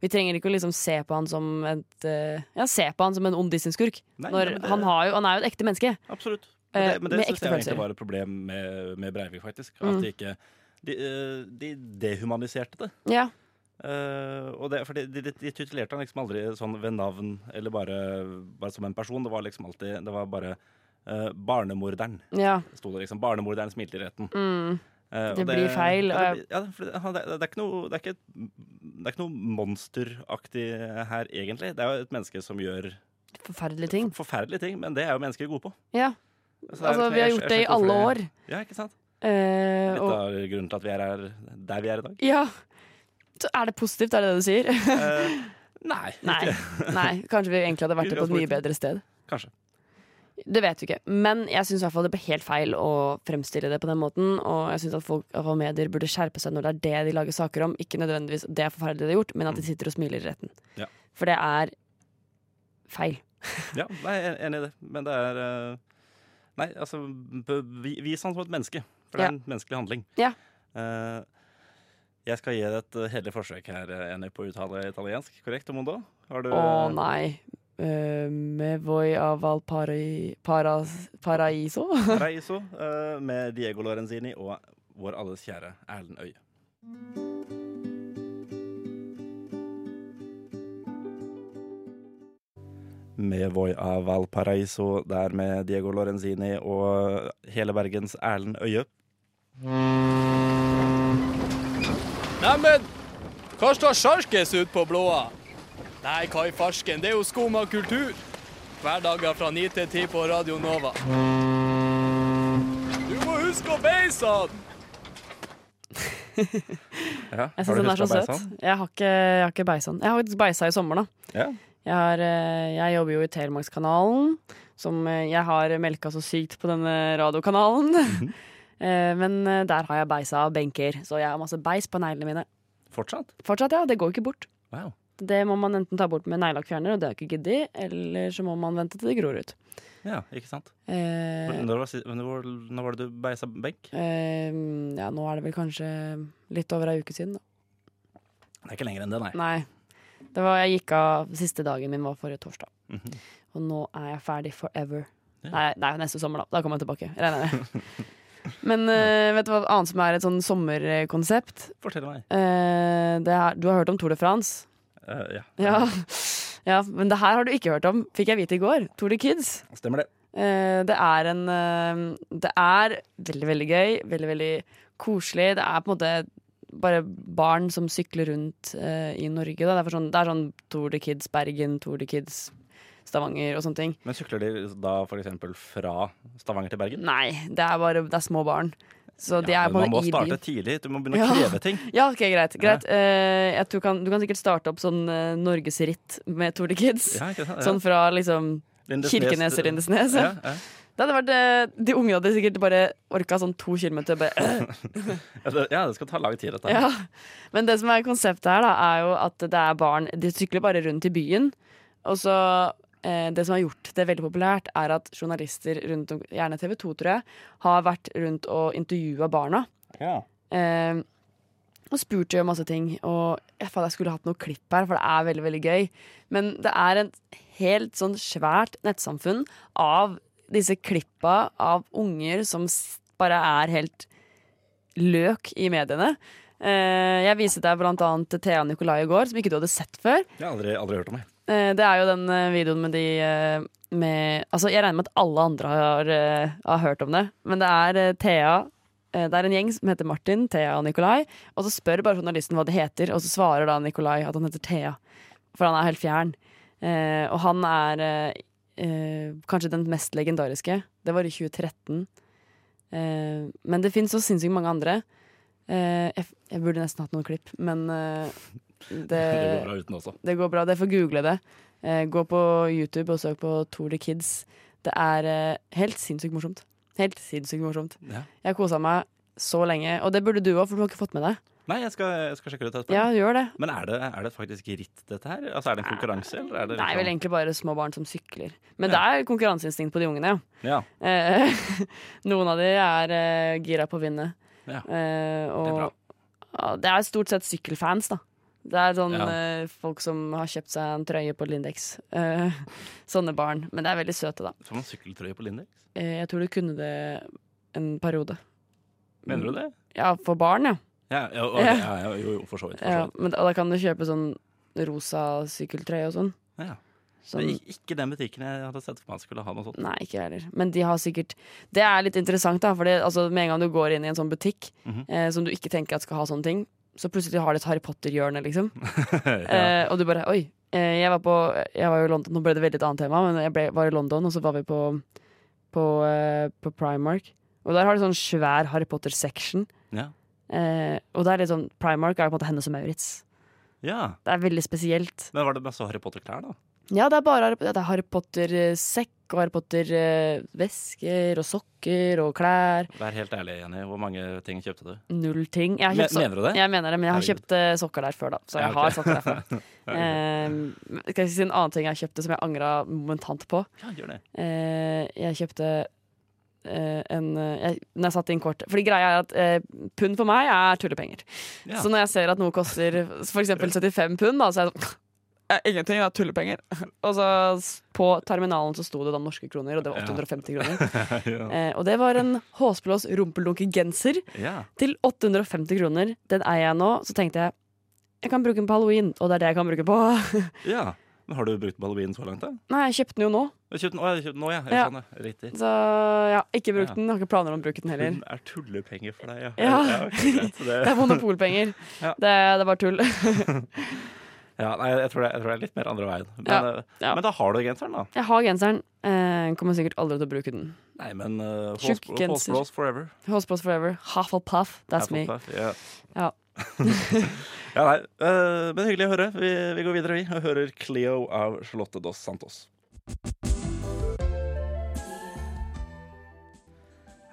Speaker 4: vi trenger ikke å liksom se på han som et, eh, ja, se på han som en ond Disney-skurk.
Speaker 3: Nei,
Speaker 4: Når
Speaker 3: nei, men det-
Speaker 4: Han, har jo- han er jo et ekte menneske.
Speaker 3: Absolutt. Men det,
Speaker 4: Eh,
Speaker 3: men det
Speaker 4: med
Speaker 3: syns
Speaker 4: ekte
Speaker 3: jeg
Speaker 4: følelser.
Speaker 3: egentlig var et problem med, med Breivik, faktisk. At
Speaker 4: Mm.
Speaker 3: de ikke de, eh, de dehumaniserte det.
Speaker 4: Ja.
Speaker 3: Eh, og det, for de, de, de tutelerte han liksom aldri sånn ved navn eller bare, bare som en person. Det var liksom alltid Det var bare eh, 'barnemorderen',
Speaker 4: ja.
Speaker 3: sto det liksom. 'Barnemorderen smilte i retten'.
Speaker 4: Mm.
Speaker 3: Eh, og
Speaker 4: Det blir feil,
Speaker 3: Ja,
Speaker 4: og
Speaker 3: det, blir- ja, for det, han- det, det er ikke noe Det er ikke, et- det er ikke noe monsteraktig her, egentlig. Det er jo et menneske som gjør
Speaker 4: Forferdelige ting.
Speaker 3: forferdelige ting, men det er jo mennesker gode på.
Speaker 4: Ja.
Speaker 3: Så det er
Speaker 4: Altså,
Speaker 3: liksom-
Speaker 4: vi har
Speaker 3: jeg-
Speaker 4: gjort
Speaker 3: jeg
Speaker 4: det i
Speaker 3: skjønner hvorfor
Speaker 4: alle år.
Speaker 3: Ja, ikke sant?
Speaker 4: Eh,
Speaker 3: Litt
Speaker 4: og,
Speaker 3: av grunnen til at vi er her der vi er i dag.
Speaker 4: ja. Så er det positivt, er det det du sier?
Speaker 3: Eh, nei.
Speaker 4: Nei.
Speaker 3: Ikke.
Speaker 4: Nei. Kanskje vi egentlig hadde vært det på et mye bedre sted.
Speaker 3: Kanskje.
Speaker 4: Det vet vi ikke. Men jeg syns det ble helt feil å fremstille det på den måten. Og jeg syns at folk og medier burde skjerpe seg når det er det de lager saker om. Ikke nødvendigvis det er forferdelig de har gjort, men at de sitter og smiler i retten.
Speaker 3: Ja.
Speaker 4: For det er feil.
Speaker 3: Ja, nei, jeg er enig i det. Men det er eh, Nei, altså, be- vi- vis han som et menneske. For det
Speaker 4: Ja.
Speaker 3: er en menneskelig handling.
Speaker 4: Ja.
Speaker 3: Eh, jeg skal gi deg et eh, hederlig forsøk her, eh, Jenny, på å uttale italiensk. Korrekt, Mondo? Har du
Speaker 4: Å nei. Eh, med voi av al parai, paras, paraiso?
Speaker 3: Reiso eh, med Diego Lorenzini og vår alles kjære Erlend Øye? Med Voi av Valparaiso, der med Diego Lorenzini og hele Bergens Erlend Øye.
Speaker 5: Neimen, hva står sjarkes ut på blåa? Nei, hva i farsken, det er jo skum av kultur. Hverdager fra 9 til 10 på Radio Nova. Du må huske å beise han!
Speaker 3: Ja,
Speaker 4: Jeg syns den er så søt. Jeg har ikke, jeg har ikke beiset den. Jeg har faktisk beisa i sommer, da.
Speaker 3: Ja.
Speaker 4: Jeg, har, eh, jeg jobber jo i Telemarkskanalen, som eh, jeg har melka så sykt på denne radiokanalen. Eh, Men eh, der har jeg beisa av benker, så jeg har masse beis på neglene mine.
Speaker 3: Fortsatt?
Speaker 4: Fortsatt, ja. Det går ikke bort.
Speaker 3: Wow.
Speaker 4: Det må man enten ta bort med neglelakkfjerner, og det har jeg ikke giddet, eller så må man vente til det gror ut.
Speaker 3: Ja, ikke sant.
Speaker 4: Eh,
Speaker 3: Når var, si- når, når var det du beisa benk?
Speaker 4: eh, Ja, nå er det vel kanskje litt over ei uke siden, da.
Speaker 3: Det er ikke lenger enn det, nei.
Speaker 4: Nei. Det var, jeg gikk av Siste dagen min var forrige torsdag.
Speaker 3: Mhm.
Speaker 4: Og nå er jeg ferdig forever.
Speaker 3: Ja.
Speaker 4: Nei, det er jo neste sommer, da. Da kommer jeg tilbake. Regner jeg med. Men eh, vet du hva annet som er et sånn sommerkonsept?
Speaker 3: Fortell meg.
Speaker 4: Eh, det er, du har hørt om Tour de France?
Speaker 3: Eh, ja.
Speaker 4: Ja. ja. Men det her har du ikke hørt om, fikk jeg vite i går. Tour de Kids.
Speaker 3: Stemmer det.
Speaker 4: Eh, Det er en eh, Det er veldig, veldig gøy. Veldig, veldig koselig. Det er på en måte bare barn som sykler rundt eh, i Norge. Da. Det, er for sånn, det er sånn Tour de Kids Bergen, Tour de Kids Stavanger og sånne ting.
Speaker 3: Men sykler de da f.eks. fra Stavanger til Bergen?
Speaker 4: Nei, det er bare det er små barn. Så de
Speaker 3: Ja,
Speaker 4: er
Speaker 3: men
Speaker 4: på
Speaker 3: man må
Speaker 4: en måte i
Speaker 3: starte
Speaker 4: byen.
Speaker 3: tidlig. Du må begynne å
Speaker 4: Ja.
Speaker 3: kreve ting.
Speaker 4: Ja, ok, greit. greit. Eh, jeg tror kan, du kan sikkert starte opp sånn eh, norgesritt med Tour de Kids.
Speaker 3: Ja, ikke sant? Ja.
Speaker 4: Sånn fra liksom
Speaker 3: Lindesnes-
Speaker 4: Kirkenes til Lindesnes.
Speaker 3: Ja, ja.
Speaker 4: Det hadde vært, eh, de unge hadde sikkert bare orka sånn to kilometer. Bare,
Speaker 3: Ja, det- ja, det skal ta lang tid, dette. her.
Speaker 4: Ja. Men det som er konseptet her, da, er jo at det er barn De sykler bare rundt i byen. Og så eh, Det som har gjort det veldig populært, er at journalister rundt om, gjerne TV 2, tror jeg, har vært rundt og intervjua barna.
Speaker 3: Ja.
Speaker 4: Eh, og spurt dem om masse ting. Og jeg, faen, jeg skulle hatt noe klipp her, for det er veldig veldig gøy. Men det er et helt sånn svært nettsamfunn av disse klippa av unger som s- bare er helt løk i mediene. Eh, jeg viste deg blant annet til Thea Nikolai i går, som ikke du hadde sett før.
Speaker 3: Jeg har aldri, aldri hørt om det.
Speaker 4: Eh, Det er jo den eh, videoen med de eh, med, altså Jeg regner med at alle andre har, eh, har hørt om det. Men det er eh, Thea eh, Det er en gjeng som heter Martin, Thea og Nikolai. Og så spør bare journalisten hva de heter, og så svarer da Nikolai at han heter Thea. For han er helt fjern. Eh, Og han er eh, eh, kanskje den mest legendariske. Det var i 2013. Eh, men det fins så sinnssykt mange andre. Eh, jeg, f- jeg burde nesten hatt noen klipp, men eh,
Speaker 3: Det går
Speaker 4: det,
Speaker 3: bra uten også.
Speaker 4: det går bra. Dere får google det. Eh, gå på YouTube og søk på Tour de Kids. Det er eh, helt sinnssykt morsomt. Helt sinnssykt morsomt.
Speaker 3: Ja.
Speaker 4: Jeg har kosa meg så lenge, og det burde du òg, for du har ikke fått med deg.
Speaker 3: Nei, jeg skal, jeg skal sjekke det ut etterpå.
Speaker 4: Ja, gjør det.
Speaker 3: Men er det, er det faktisk ritt, dette her? Altså, Er det en konkurranse, eller er det
Speaker 4: Det er vel
Speaker 3: liksom-
Speaker 4: egentlig bare små barn som sykler. Men det er konkurranseinstinkt på de ungene, ja.
Speaker 3: Ja.
Speaker 4: Eh, Noen av de er eh, gira på å vinne.
Speaker 3: Ja.
Speaker 4: Eh, og
Speaker 3: Det er
Speaker 4: det er,
Speaker 3: bra.
Speaker 4: ja, det er stort sett sykkelfans, da. Det er sånn
Speaker 3: Ja.
Speaker 4: eh, folk som har kjøpt seg en trøye på Lindex. Eh, sånne barn. Men det er veldig søte, da.
Speaker 3: Får man sykkeltrøye på Lindex?
Speaker 4: Eh, jeg tror du kunne det en periode.
Speaker 3: Mener du det?
Speaker 4: Ja, for barn, Mm. ja.
Speaker 3: Ja, ja, ok, ja, ja jo, jo, for så vidt. For
Speaker 4: ja
Speaker 3: så vidt.
Speaker 4: men da, da kan du kjøpe sånn rosa sykkeltrøye og sånn.
Speaker 3: Ja.
Speaker 4: Sånn-
Speaker 3: Men ik- ikke den butikken jeg hadde sett for meg skulle ha noe sånt.
Speaker 4: Nei, ikke jeg heller. Men de har sikkert Det er litt interessant, da. For det, altså, med en gang du går inn i en sånn butikk
Speaker 3: Mhm.
Speaker 4: eh, som du ikke tenker at skal ha sånne ting, så plutselig har de et Harry Potter-hjørne, liksom.
Speaker 3: ja.
Speaker 4: Eh, og du bare Oi. Eh, jeg, var på, jeg var jo i London, nå ble det veldig et annet tema, men jeg ble, var i London, og så var vi på, på, eh, på Primark. Og der har de sånn svær Harry Potter-section.
Speaker 3: Ja.
Speaker 4: Eh, og det er litt sånn Primark er jo på en måte Hennes og Maurits.
Speaker 3: ja.
Speaker 4: Det er veldig spesielt.
Speaker 3: Men var det masse Harry Potter-klær, da?
Speaker 4: Ja, det er bare Harry, det er Harry Potter-sekk og Harry Potter-vesker og sokker og klær.
Speaker 3: Vær helt ærlig, Jenny. Hvor mange ting kjøpte du?
Speaker 4: Null ting. Jeg har
Speaker 3: Men-
Speaker 4: kjøpt so-
Speaker 3: mener du det?
Speaker 4: Jeg mener det, men jeg har
Speaker 3: Herregud.
Speaker 4: kjøpt eh, sokker der før, da. Så
Speaker 3: Ja, ok.
Speaker 4: jeg har sokker derfra. um, skal jeg si en annen ting jeg kjøpte som jeg angra momentant på?
Speaker 3: Ja, gjør det.
Speaker 4: Eh, jeg kjøpte eh, en eh, jeg, Når jeg satte inn kort Fordi greia er at eh, pund for meg er tullepenger.
Speaker 3: Ja.
Speaker 4: Så når jeg ser at noe koster f.eks. 75 pund, da, så er jeg sånn «Eh, Ingenting, det er tullepenger. Og så s- på terminalen så sto det da norske kroner, og det var 850 kroner.
Speaker 3: ja.
Speaker 4: Eh, og det var en håsblås rumpeldunke-genser
Speaker 3: ja.
Speaker 4: til 850 kroner. Den eier jeg nå. Så tenkte jeg jeg kan bruke den på halloween, og det er det jeg kan bruke på.
Speaker 3: Ja. Men har du brukt Ballabien så langt, da?
Speaker 4: Nei, jeg kjøpte den jo nå,
Speaker 3: Du har kjøpt den, å, jeg har kjøpt den nå, ja. Jeg
Speaker 4: Ja. Sånn
Speaker 3: skjønner. Riktig.
Speaker 4: så jeg har ikke brukt
Speaker 3: Ja.
Speaker 4: den. Har ikke planer om å bruke den heller.
Speaker 3: Hun er tullepenger for deg, ja.
Speaker 4: Ja.
Speaker 3: ok, greit,
Speaker 4: Det
Speaker 3: det.
Speaker 4: er monopolpenger.
Speaker 3: Ja.
Speaker 4: det, det er bare tull.
Speaker 3: ja nei, jeg tror, det, jeg tror det er litt mer andre veien. Men,
Speaker 4: Ja,
Speaker 3: eh,
Speaker 4: ja.
Speaker 3: men da har du genseren, da.
Speaker 4: Jeg har genseren. Eh, kommer sikkert aldri til å bruke den.
Speaker 3: Nei, men uh,
Speaker 4: Tjukk genser.
Speaker 3: Håsblås forever.
Speaker 4: Håsblås forever. Half a puff. That's me.
Speaker 3: Hufflepuff, Ja.
Speaker 4: Ja.
Speaker 3: ja, nei. eh, men hyggelig å høre. Vi, vi går videre, vi, og hører Cleo av Charlotte Dos Santos.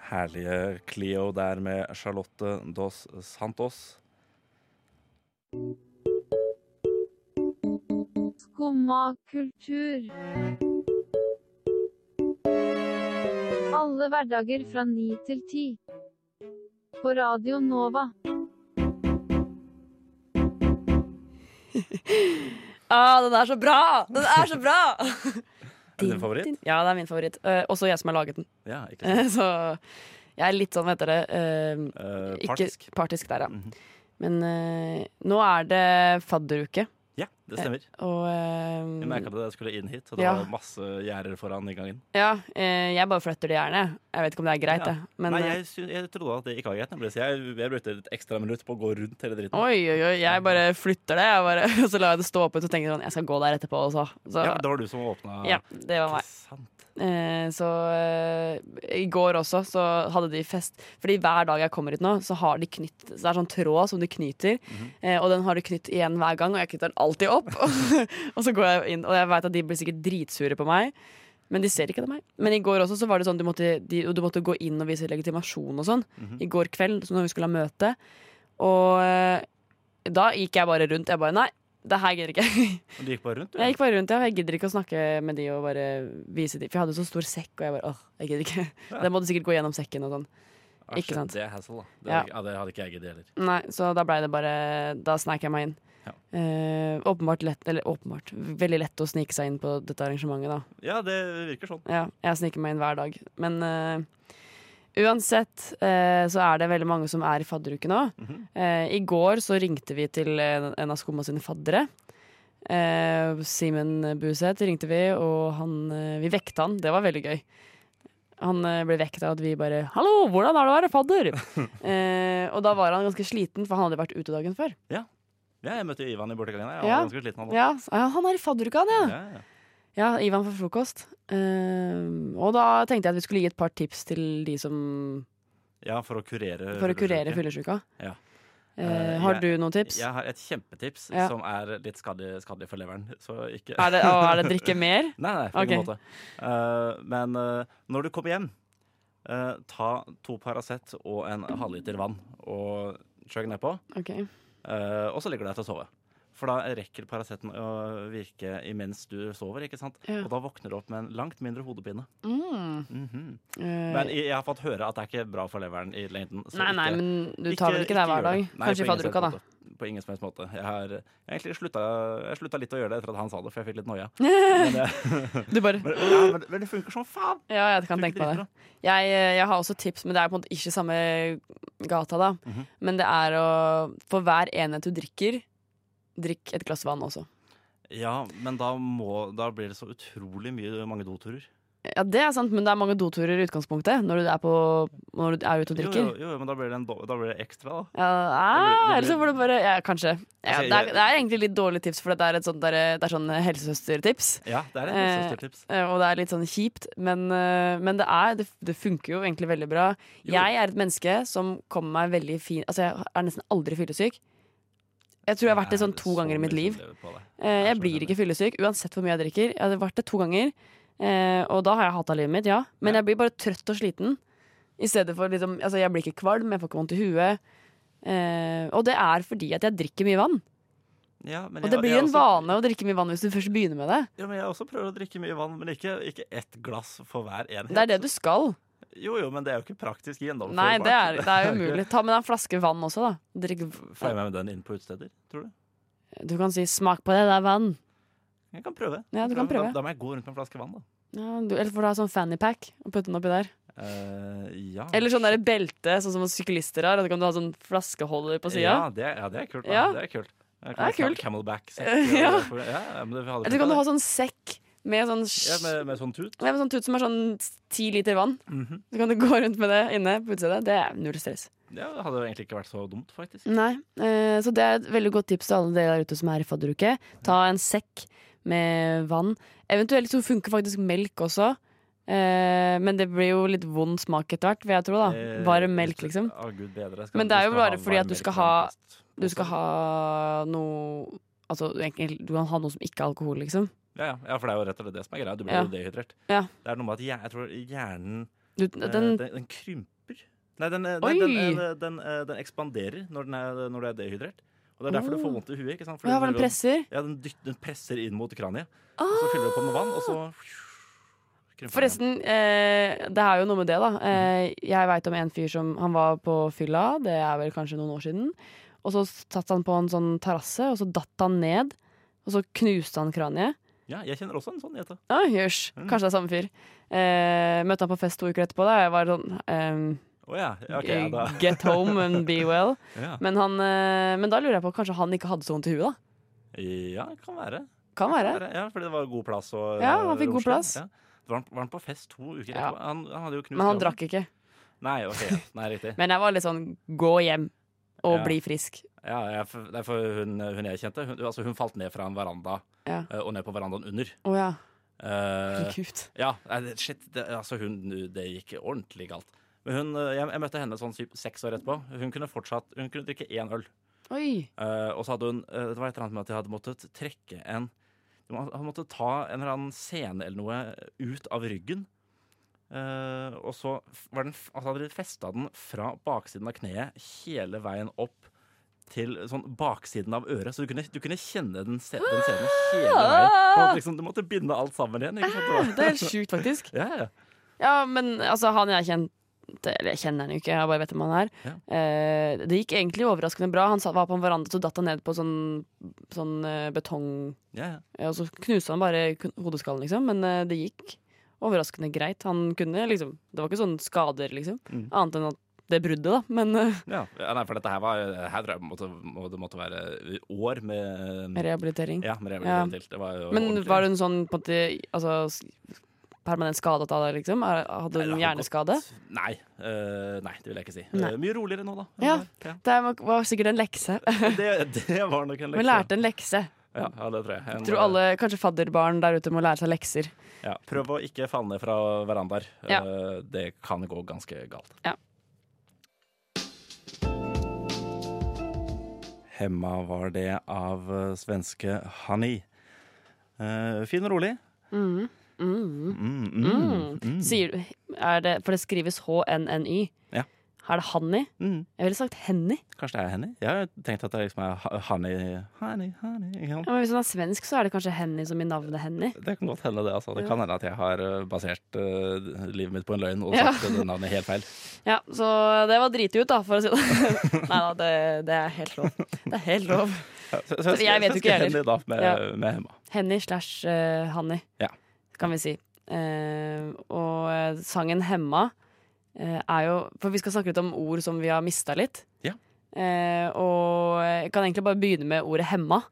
Speaker 3: Herlige Cleo der med Charlotte Dos Santos.
Speaker 7: Skumma kultur. Alle hverdager fra 9 til 10. På Radio Nova.
Speaker 4: Ah, den er så bra! Den er så bra!
Speaker 3: Er det din favoritt?
Speaker 4: Ja, det er min favoritt. Eh, også jeg som har laget den.
Speaker 3: Ja, ikke sant?
Speaker 4: Eh, så jeg er litt sånn, hva heter det eh,
Speaker 3: Eh,
Speaker 4: Ikke
Speaker 3: partisk.
Speaker 4: partisk der, ja.
Speaker 3: Mhm.
Speaker 4: Men eh, nå er det fadderuke,
Speaker 3: Ja, det stemmer.
Speaker 4: og eh,
Speaker 3: Jeg merka det da jeg skulle inn hit, og det
Speaker 4: Ja.
Speaker 3: var masse gjerder foran inngangen.
Speaker 4: Ja, eh, jeg bare flytter det gjerne. jeg. Jeg vet ikke om det er greit,
Speaker 3: Ja.
Speaker 4: jeg. Men
Speaker 3: Nei,
Speaker 4: eh,
Speaker 3: jeg, sy- jeg trodde at det ikke var greit, nemlig, så jeg, jeg brukte et ekstra minutt på å gå rundt hele dritten.
Speaker 4: Oi, oi, oi, jeg bare flytter det. Jeg bare, så lar jeg det stå åpent og tenker sånn, jeg skal gå der etterpå også. Så,
Speaker 3: Ja, det var du som åpna.
Speaker 4: ja, det var meg. Eh, så eh, i går også så hadde de fest. Fordi hver dag jeg kommer hit nå, så har de knytt Så det er sånn tråd som de knyter, eh, og den har de knytt igjen hver gang, og jeg knytter den alltid opp. og så går jeg inn, og jeg veit at de blir sikkert dritsure på meg. Men de ser ikke det meg. Men i går også så var det sånn du måtte, de, du måtte gå inn og vise legitimasjon og sånn. I går kveld, så når vi skulle ha møte. Og eh, da gikk jeg bare rundt. Jeg bare nei, det her gidder ikke jeg.
Speaker 3: Du gikk bare rundt, du?
Speaker 4: Jeg gikk bare rundt, ja. og Jeg gidder ikke å snakke med de og bare vise de. For jeg hadde så stor sekk, og jeg bare åh, jeg gidder ikke. Den måtte sikkert gå gjennom sekken og sånn.
Speaker 3: Ah,
Speaker 4: Ikke
Speaker 3: shit,
Speaker 4: sant?
Speaker 3: Det er hassle, da. Det,
Speaker 4: Ja.
Speaker 3: hadde- ja, det hadde ikke jeg giddet heller.
Speaker 4: Nei, så da blei det bare Da sneik jeg meg inn.
Speaker 3: Ja.
Speaker 4: Eh, åpenbart lett, eller åpenbart, veldig lett å snike seg inn på dette arrangementet, da.
Speaker 3: Ja, det virker sånn.
Speaker 4: Ja, jeg sniker meg inn hver dag. Men eh, uansett eh, så er det veldig mange som er i fadderuke nå. Eh, I går så ringte vi til en, en av Skumma sine faddere. Eh, Simen Buseth ringte vi, og han, eh, vi vekte han. Det var veldig gøy. Han eh, ble vekket av at vi bare 'Hallo, hvordan er det å være fadder?' eh, og da var han ganske sliten, for han hadde vært ute dagen før.
Speaker 3: Ja, jeg møtte Ivan i bortegangen. Jeg var
Speaker 4: Ja.
Speaker 3: ganske sliten. Han, da.
Speaker 4: Ja, så- ja, han er i fadderuka, han, ja.
Speaker 3: Ja, ja.
Speaker 4: Ja, Ehm, Ivan for frokost. Eh, og da tenkte jeg at vi skulle gi et par tips til de som
Speaker 3: Ja, for å kurere
Speaker 4: for å kurere
Speaker 3: Eh, fyllesyke.
Speaker 4: fyllesyka.
Speaker 3: Ja.
Speaker 4: Eh,
Speaker 3: Eh,
Speaker 4: har
Speaker 3: jeg-
Speaker 4: du noen tips?
Speaker 3: Jeg har et kjempetips
Speaker 4: Ja.
Speaker 3: som er litt skadelig, skadelig for leveren. Så ikke
Speaker 4: Er, det, å, er det drikke mer?
Speaker 3: Nei, nei, på ingen måte.
Speaker 4: Ok.
Speaker 3: Eh, men eh, når du kommer hjem, eh, ta to Paracet og en halvliter vann og chug nedpå.
Speaker 4: Ok.
Speaker 3: Eh, og så ligger du deg til å sove. For da rekker Paraceten å virke imens du sover, ikke sant?
Speaker 4: Ja.
Speaker 3: Og da våkner du opp med en langt mindre hodepine.
Speaker 4: Mm.
Speaker 3: Mhm.
Speaker 4: Eh,
Speaker 3: Men jeg jeg har fått høre at det er ikke bra for leveren i lengden. så
Speaker 4: nei, nei,
Speaker 3: ikke-
Speaker 4: men du tar vel ikke det
Speaker 3: gjør
Speaker 4: hver dag?
Speaker 3: det. Nei, på
Speaker 4: Kanskje i
Speaker 3: ingen
Speaker 4: fadderuka, da.
Speaker 3: som helst måte. På ingen som helst måte. Jeg har egentlig slutta, jeg slutta litt å gjøre det etter at han sa det, for jeg fikk litt noia. Men, det-
Speaker 4: Du bare
Speaker 3: men, ja, men, men det funker som faen!
Speaker 4: Ja, jeg kan tenke meg det. Jeg, eh, jeg har også tips, men det er på en måte ikke samme gata, da.
Speaker 3: Mhm.
Speaker 4: Men det er å For hver enhet du drikker, drikk et glass vann også.
Speaker 3: Ja, men da, må, da blir det så utrolig mye mange doturer.
Speaker 4: Ja, det er sant, men det er mange doturer i utgangspunktet når du er, på, når du er ute og
Speaker 3: Jo, jo,
Speaker 4: drikker.
Speaker 3: jo, men da blir det, en, do- da blir det ekstra, da.
Speaker 4: Ja,
Speaker 3: Det blir-
Speaker 4: ah,
Speaker 3: det
Speaker 4: eller så
Speaker 3: blir-
Speaker 4: får du bare ja, Kanskje. Ja,
Speaker 3: Altså,
Speaker 4: det, er,
Speaker 3: jeg-
Speaker 4: det er egentlig litt dårlig tips, for det er, et sånt der, det er sånn helsesøstertips.
Speaker 3: Ja, det er et
Speaker 4: Eh,
Speaker 3: livsstiltips.
Speaker 4: Eh, Og det er litt sånn kjipt, men, eh, men det, er, det, det funker jo egentlig veldig bra.
Speaker 3: Jo.
Speaker 4: Jeg er et menneske som kommer meg veldig fin Altså, jeg er nesten aldri fyllesyk. Jeg tror jeg har vært det sånn to ganger i mitt liv. Eh, Jeg blir ikke fyllesyk uansett hvor mye jeg drikker. Jeg har vært det to ganger, eh, og da har jeg hata livet mitt, ja. Men
Speaker 3: Ja.
Speaker 4: jeg blir bare trøtt og sliten. I stedet for liksom Altså, jeg blir ikke kvalm, jeg får ikke vondt i huet. Eh, og det er fordi at jeg drikker mye vann.
Speaker 3: Ja, men
Speaker 4: Og
Speaker 3: jeg-
Speaker 4: det blir
Speaker 3: jeg
Speaker 4: en
Speaker 3: også-
Speaker 4: vane å drikke mye vann hvis du først begynner med det.
Speaker 3: Ja, men jeg også prøver å drikke mye vann, men ikke, ikke ett glass for hver enhet.
Speaker 4: Det er det du skal.
Speaker 3: Jo, jo, men det er jo ikke praktisk gjennomførbart.
Speaker 4: Nei, det er, det er umulig. Ta med deg en flaske vann også, da. Drikk,
Speaker 3: Får jeg med meg den inn på utesteder, tror du?
Speaker 4: du kan si 'smak på det, det er vann'.
Speaker 3: Jeg kan prøve.
Speaker 4: Ja, du kan
Speaker 3: Da-
Speaker 4: prøve.
Speaker 3: Da, må jeg gå rundt med en flaske vann, da.
Speaker 4: Ja, du, eller får du ha sånn fannypack og putte den oppi der.
Speaker 3: Eh, ja.
Speaker 4: Eller sånn der belte, sånn som syklister har. Og så kan du ha sånn flaskeholder på
Speaker 3: Ja,
Speaker 4: sida.
Speaker 3: det, ja, det er kult. Da.
Speaker 4: Ja.
Speaker 3: Det er kult. Jeg
Speaker 4: Det er
Speaker 3: kan ha
Speaker 4: kult.
Speaker 3: Camelback. sekk,
Speaker 4: Ja.
Speaker 3: for- ja, men det hadde
Speaker 4: Eller så kan du ha sånn sekk med sånn
Speaker 3: ja,
Speaker 4: sj-
Speaker 3: med, med sånn tut.
Speaker 4: ja, med sånn tut som er sånn ti liter vann.
Speaker 3: Mhm.
Speaker 4: Så kan du gå rundt med det inne på utstedet. Det er null stress.
Speaker 3: Ja, det hadde jo egentlig ikke vært så dumt, faktisk.
Speaker 4: Nei, eh, så det er et veldig godt tips til alle dere der ute som er i fadderuke. Ta en sekk med vann. Eventuelt så funker faktisk melk også. Eh, men det blir jo litt vond smak etter hvert, vil jeg tro. da
Speaker 3: Eh,
Speaker 4: Varm melk,
Speaker 3: litt-
Speaker 4: liksom.
Speaker 3: Å, Gud bedre. Jeg
Speaker 4: Men det er
Speaker 3: du
Speaker 4: jo
Speaker 3: skal ha
Speaker 4: bare fordi at
Speaker 3: varm
Speaker 4: du skal
Speaker 3: melk
Speaker 4: ha-
Speaker 3: blankt.
Speaker 4: Du skal ha noe Altså egentlig, du kan ha noe som ikke er alkohol, liksom.
Speaker 3: ja, ja. ja, for det er jo rett og slett det som er greia. Du blir
Speaker 4: Ja.
Speaker 3: jo dehydrert.
Speaker 4: Ja.
Speaker 3: Det er noe med at hjer- jeg tror hjernen
Speaker 4: Du,
Speaker 3: eh,
Speaker 4: den,
Speaker 3: den, den krymper. Nei, den, eh,
Speaker 4: Oi!
Speaker 3: nei den, eh, den, eh, den ekspanderer når, den er, når du er dehydrert. Og det er derfor du
Speaker 4: Oh.
Speaker 3: får vondt i huet. ikke sant? Fordi
Speaker 4: ja, hva
Speaker 3: den
Speaker 4: den presser?
Speaker 3: Ja, den, dytt, den presser inn mot kraniet. Og så fyller du på med vann, og så krymper den igjen.
Speaker 4: Forresten, eh, det er jo noe med det, da. Eh, jeg veit om en fyr som Han var på fylla, det er vel kanskje noen år siden. Og så satt han på en sånn terrasse, og så datt han ned. Og så knuste han kraniet.
Speaker 3: Ja, jeg kjenner også en sånn jente.
Speaker 4: Ah, jøss,
Speaker 3: Mm.
Speaker 4: kanskje det er samme fyr. Eh, møtte han på fest to uker etterpå, da. Jeg var sånn ehm,
Speaker 3: Å ja. ja, ok, ja, da.
Speaker 4: Get home and be well.
Speaker 3: Ja.
Speaker 4: Men, han, eh, men da lurer jeg på, kanskje han ikke hadde så vondt i huet, da?
Speaker 3: ja, det kan være.
Speaker 4: Kan være.
Speaker 3: Ja, Fordi det var god plass. Og,
Speaker 4: Ja, han fikk god
Speaker 3: romslig.
Speaker 4: plass.
Speaker 3: Ja. Var, han, var han på fest to uker
Speaker 4: Ja.
Speaker 3: etterpå? Han, han hadde jo knust
Speaker 4: Men han
Speaker 3: kroppen.
Speaker 4: drakk ikke.
Speaker 3: Nei, ok, ja. Nei, riktig.
Speaker 4: Men jeg var litt sånn gå hjem og
Speaker 3: Ja.
Speaker 4: bli frisk.
Speaker 3: Ja, jeg, for- det er for hun, hun jeg kjente, hun, altså, hun falt ned fra en veranda
Speaker 4: Ja.
Speaker 3: eh, og ned på verandaen under.
Speaker 4: Å ja.
Speaker 3: Eh,
Speaker 4: Herregud.
Speaker 3: Ja, nei, det- shit, det, altså hun, det gikk ordentlig galt. Men hun, eh, jeg, jeg møtte henne sånn syv, seks år etterpå. Hun kunne fortsatt, hun kunne drikke én øl.
Speaker 4: Oi.
Speaker 3: Eh, og så hadde hun, eh, det var et eller annet med at jeg hadde måttet trekke en de må- Hadde måttet ta en eller annen scene eller noe ut av ryggen. Eh, og så f- var den, f- altså hadde de festa den fra baksiden av kneet hele veien opp til sånn baksiden av øret. Så du kunne, du kunne kjenne den, se, den scenen hele veien. Du måtte, liksom, du måtte binde alt sammen igjen. Ikke sant? Det var-
Speaker 4: Det er helt sjukt, faktisk.
Speaker 3: Ja, ja, ja.
Speaker 4: Ja, men altså, han jeg kjente Eller jeg kjenner han jo ikke, jeg bare vet hvem han er. Eh, det gikk egentlig overraskende bra. Han sa- var på en veranda, så datt han ned på sånn, sånn eh, betong
Speaker 3: ja, ja.
Speaker 4: eh, Og så knuste han bare kun- hodeskallen, liksom. Men eh, det gikk overraskende greit. Han kunne liksom Det var ikke sånn skader, liksom.
Speaker 3: Mm.
Speaker 4: Annet enn at det bruddet, da. Men eh,
Speaker 3: Ja, ja nei, for dette her var her tror jeg måtte, må, Det måtte være år med
Speaker 4: rehabilitering.
Speaker 3: Mm. Ja, med rehabilitering
Speaker 4: Ja.
Speaker 3: til. Det var jo
Speaker 4: Men
Speaker 3: ordentlig.
Speaker 4: var hun sånn på en måte altså, s- permanent skadet av det, liksom? Er- Hadde
Speaker 3: Nei, det
Speaker 4: hun
Speaker 3: har
Speaker 4: hjerneskade?
Speaker 3: gått- Nei, eh, nei, det vil jeg ikke si.
Speaker 4: Nei.
Speaker 3: Eh, mye roligere nå, da.
Speaker 4: Ja.
Speaker 3: Eh,
Speaker 4: Det var- var sikkert en lekse.
Speaker 3: Det, det var nok en lekse.
Speaker 4: Hun lærte en lekse.
Speaker 3: Ja, ja, det tror jeg. En, eh,
Speaker 4: Tror alle, kanskje fadderbarn der ute må lære seg lekser.
Speaker 3: ja, prøv å ikke falle ned fra verandaer.
Speaker 4: Ja.
Speaker 3: Eh, det kan gå ganske galt. Hemma var det av eh, svenske Honey. Eh, fin og rolig.
Speaker 4: Mm. Mm.
Speaker 3: Mm, mm,
Speaker 4: Mm.
Speaker 3: mm.
Speaker 4: Sier du er det, For det skrives HNNY.
Speaker 3: Ja.
Speaker 4: Er det Hanny?
Speaker 3: Mm.
Speaker 4: Jeg ville sagt Henny.
Speaker 3: Kanskje det er Henny? Jeg har tenkt at det liksom er ha- Honey, honey, honey. ikke sant?
Speaker 4: Ja, men hvis hun er svensk, så er det kanskje Henny som i navnet Henny.
Speaker 3: Det kan godt hende, det. altså. Det
Speaker 4: Ja.
Speaker 3: kan hende at jeg har eh, basert eh, livet mitt på en løgn og
Speaker 4: Ja.
Speaker 3: sagt det navnet helt feil.
Speaker 4: Ja, Så det var driti ut, da, for å si det. Nei da, det, det er helt lov. Det er helt lov.
Speaker 3: Ja, Så, så,
Speaker 4: Så jeg vet jo ikke
Speaker 3: heller. Henny da med,
Speaker 4: Ja.
Speaker 3: med Hemma.
Speaker 4: Henny slash eh, Hanny,
Speaker 3: Ja.
Speaker 4: kan vi si. Eh, og eh, sangen 'Hemma' eh, er jo For vi skal snakke litt om ord som vi har mista litt.
Speaker 3: Ja.
Speaker 4: Eh, og jeg kan egentlig bare begynne med ordet 'hemma'.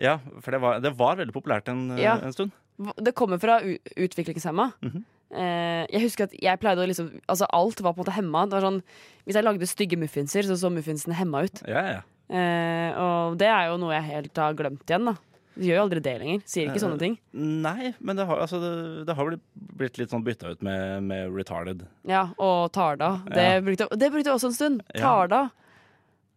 Speaker 3: Ja, for det var, det var veldig populært en, eh,
Speaker 4: Ja.
Speaker 3: en stund.
Speaker 4: Hva- Det kommer fra u- utviklingshemma.
Speaker 3: Mhm.
Speaker 4: Eh, jeg husker at jeg pleide å liksom Altså alt var på en måte hemma. Det var sånn, hvis jeg lagde stygge muffinser, så så muffinsene hemma ut.
Speaker 3: Ja, ja.
Speaker 4: Eh, og det er jo noe jeg helt har glemt igjen, da. Jeg gjør jo aldri det lenger. Sier
Speaker 3: Eh,
Speaker 4: ikke sånne ting.
Speaker 3: Nei, men det har, altså, det, det har blitt- blitt litt sånn bytta ut med, med retarded.
Speaker 4: Ja, og Tarda.
Speaker 3: Ja.
Speaker 4: Det, brukte, det brukte jeg også en stund.
Speaker 3: Ja.
Speaker 4: Tarda.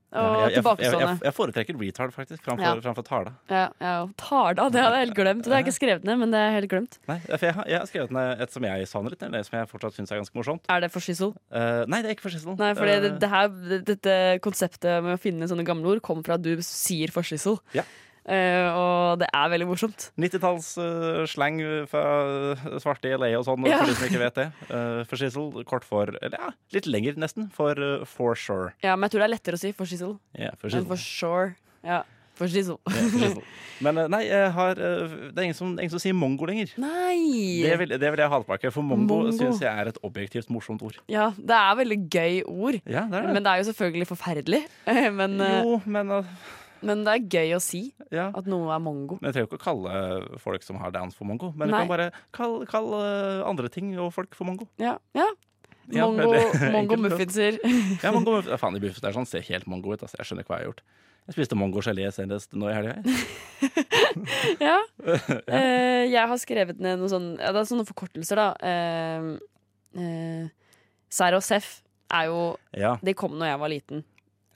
Speaker 4: Og
Speaker 3: Ja, jeg, jeg, jeg,
Speaker 4: tilbakestående.
Speaker 3: jeg foretrekker retard, faktisk, framfor,
Speaker 4: Ja.
Speaker 3: framfor tala.
Speaker 4: Ja, ja, og Tarda, det hadde jeg helt glemt. Det har jeg ikke skrevet ned, men det er helt glemt.
Speaker 3: Nei, for jeg, har- jeg har skrevet ned et som jeg savner litt, eller som jeg fortsatt syns er ganske morsomt.
Speaker 4: Er det for skissel?
Speaker 3: Eh, nei, det er ikke fascismen.
Speaker 4: Nei, for det,
Speaker 3: Eh,
Speaker 4: det her, dette konseptet med å finne sånne gamle ord kommer fra at du sier for skissel.
Speaker 3: Ja.
Speaker 4: Eh, og det er veldig morsomt.
Speaker 3: 90-talls-slang eh, fra svarte i LA og sånn,
Speaker 4: Ja.
Speaker 3: for de som ikke vet det. Uh, fascismen, kort for Eller ja, litt lenger, nesten, for eh, for sure.
Speaker 4: Ja, Men jeg tror det er lettere å si for skissel
Speaker 3: Ja,
Speaker 4: enn
Speaker 3: fascismen.
Speaker 4: for sure. Ja, for skissel.
Speaker 3: Ja, fascismen. Men eh, nei, jeg har, eh, det er ingen som, ingen som sier mongo lenger.
Speaker 4: Nei!
Speaker 3: Det vil, det vil jeg ha tilbake, for mongo,
Speaker 4: Mongo.
Speaker 3: syns jeg er et objektivt morsomt ord.
Speaker 4: Ja, det er veldig gøy ord.
Speaker 3: Ja, det er det.
Speaker 4: Men det er jo selvfølgelig forferdelig. Men, eh,
Speaker 3: jo, men eh,
Speaker 4: men det er gøy å si
Speaker 3: ja.
Speaker 4: at noe er mongo.
Speaker 3: Men Jeg trenger jo ikke å kalle folk som har downs for mongo, men du
Speaker 4: Nei.
Speaker 3: kan bare kalle kall, eh, andre ting og folk for mongo.
Speaker 4: Ja, ja.
Speaker 3: Ja,
Speaker 4: Mongo,
Speaker 3: veldig
Speaker 4: mongo
Speaker 3: enkelt.
Speaker 4: muffinser.
Speaker 3: Ja, mongo ja, faen, de buffene der sånn ser helt mongo ut. Altså. Jeg skjønner ikke hva jeg har gjort. Jeg spiste mongogelé senest nå i helga.
Speaker 4: ja. Eh, jeg har skrevet ned noen sånne, ja, det er sånne forkortelser, da. Eh, eh, Serr og Seff er jo
Speaker 3: Ja,
Speaker 4: De kom når jeg var liten.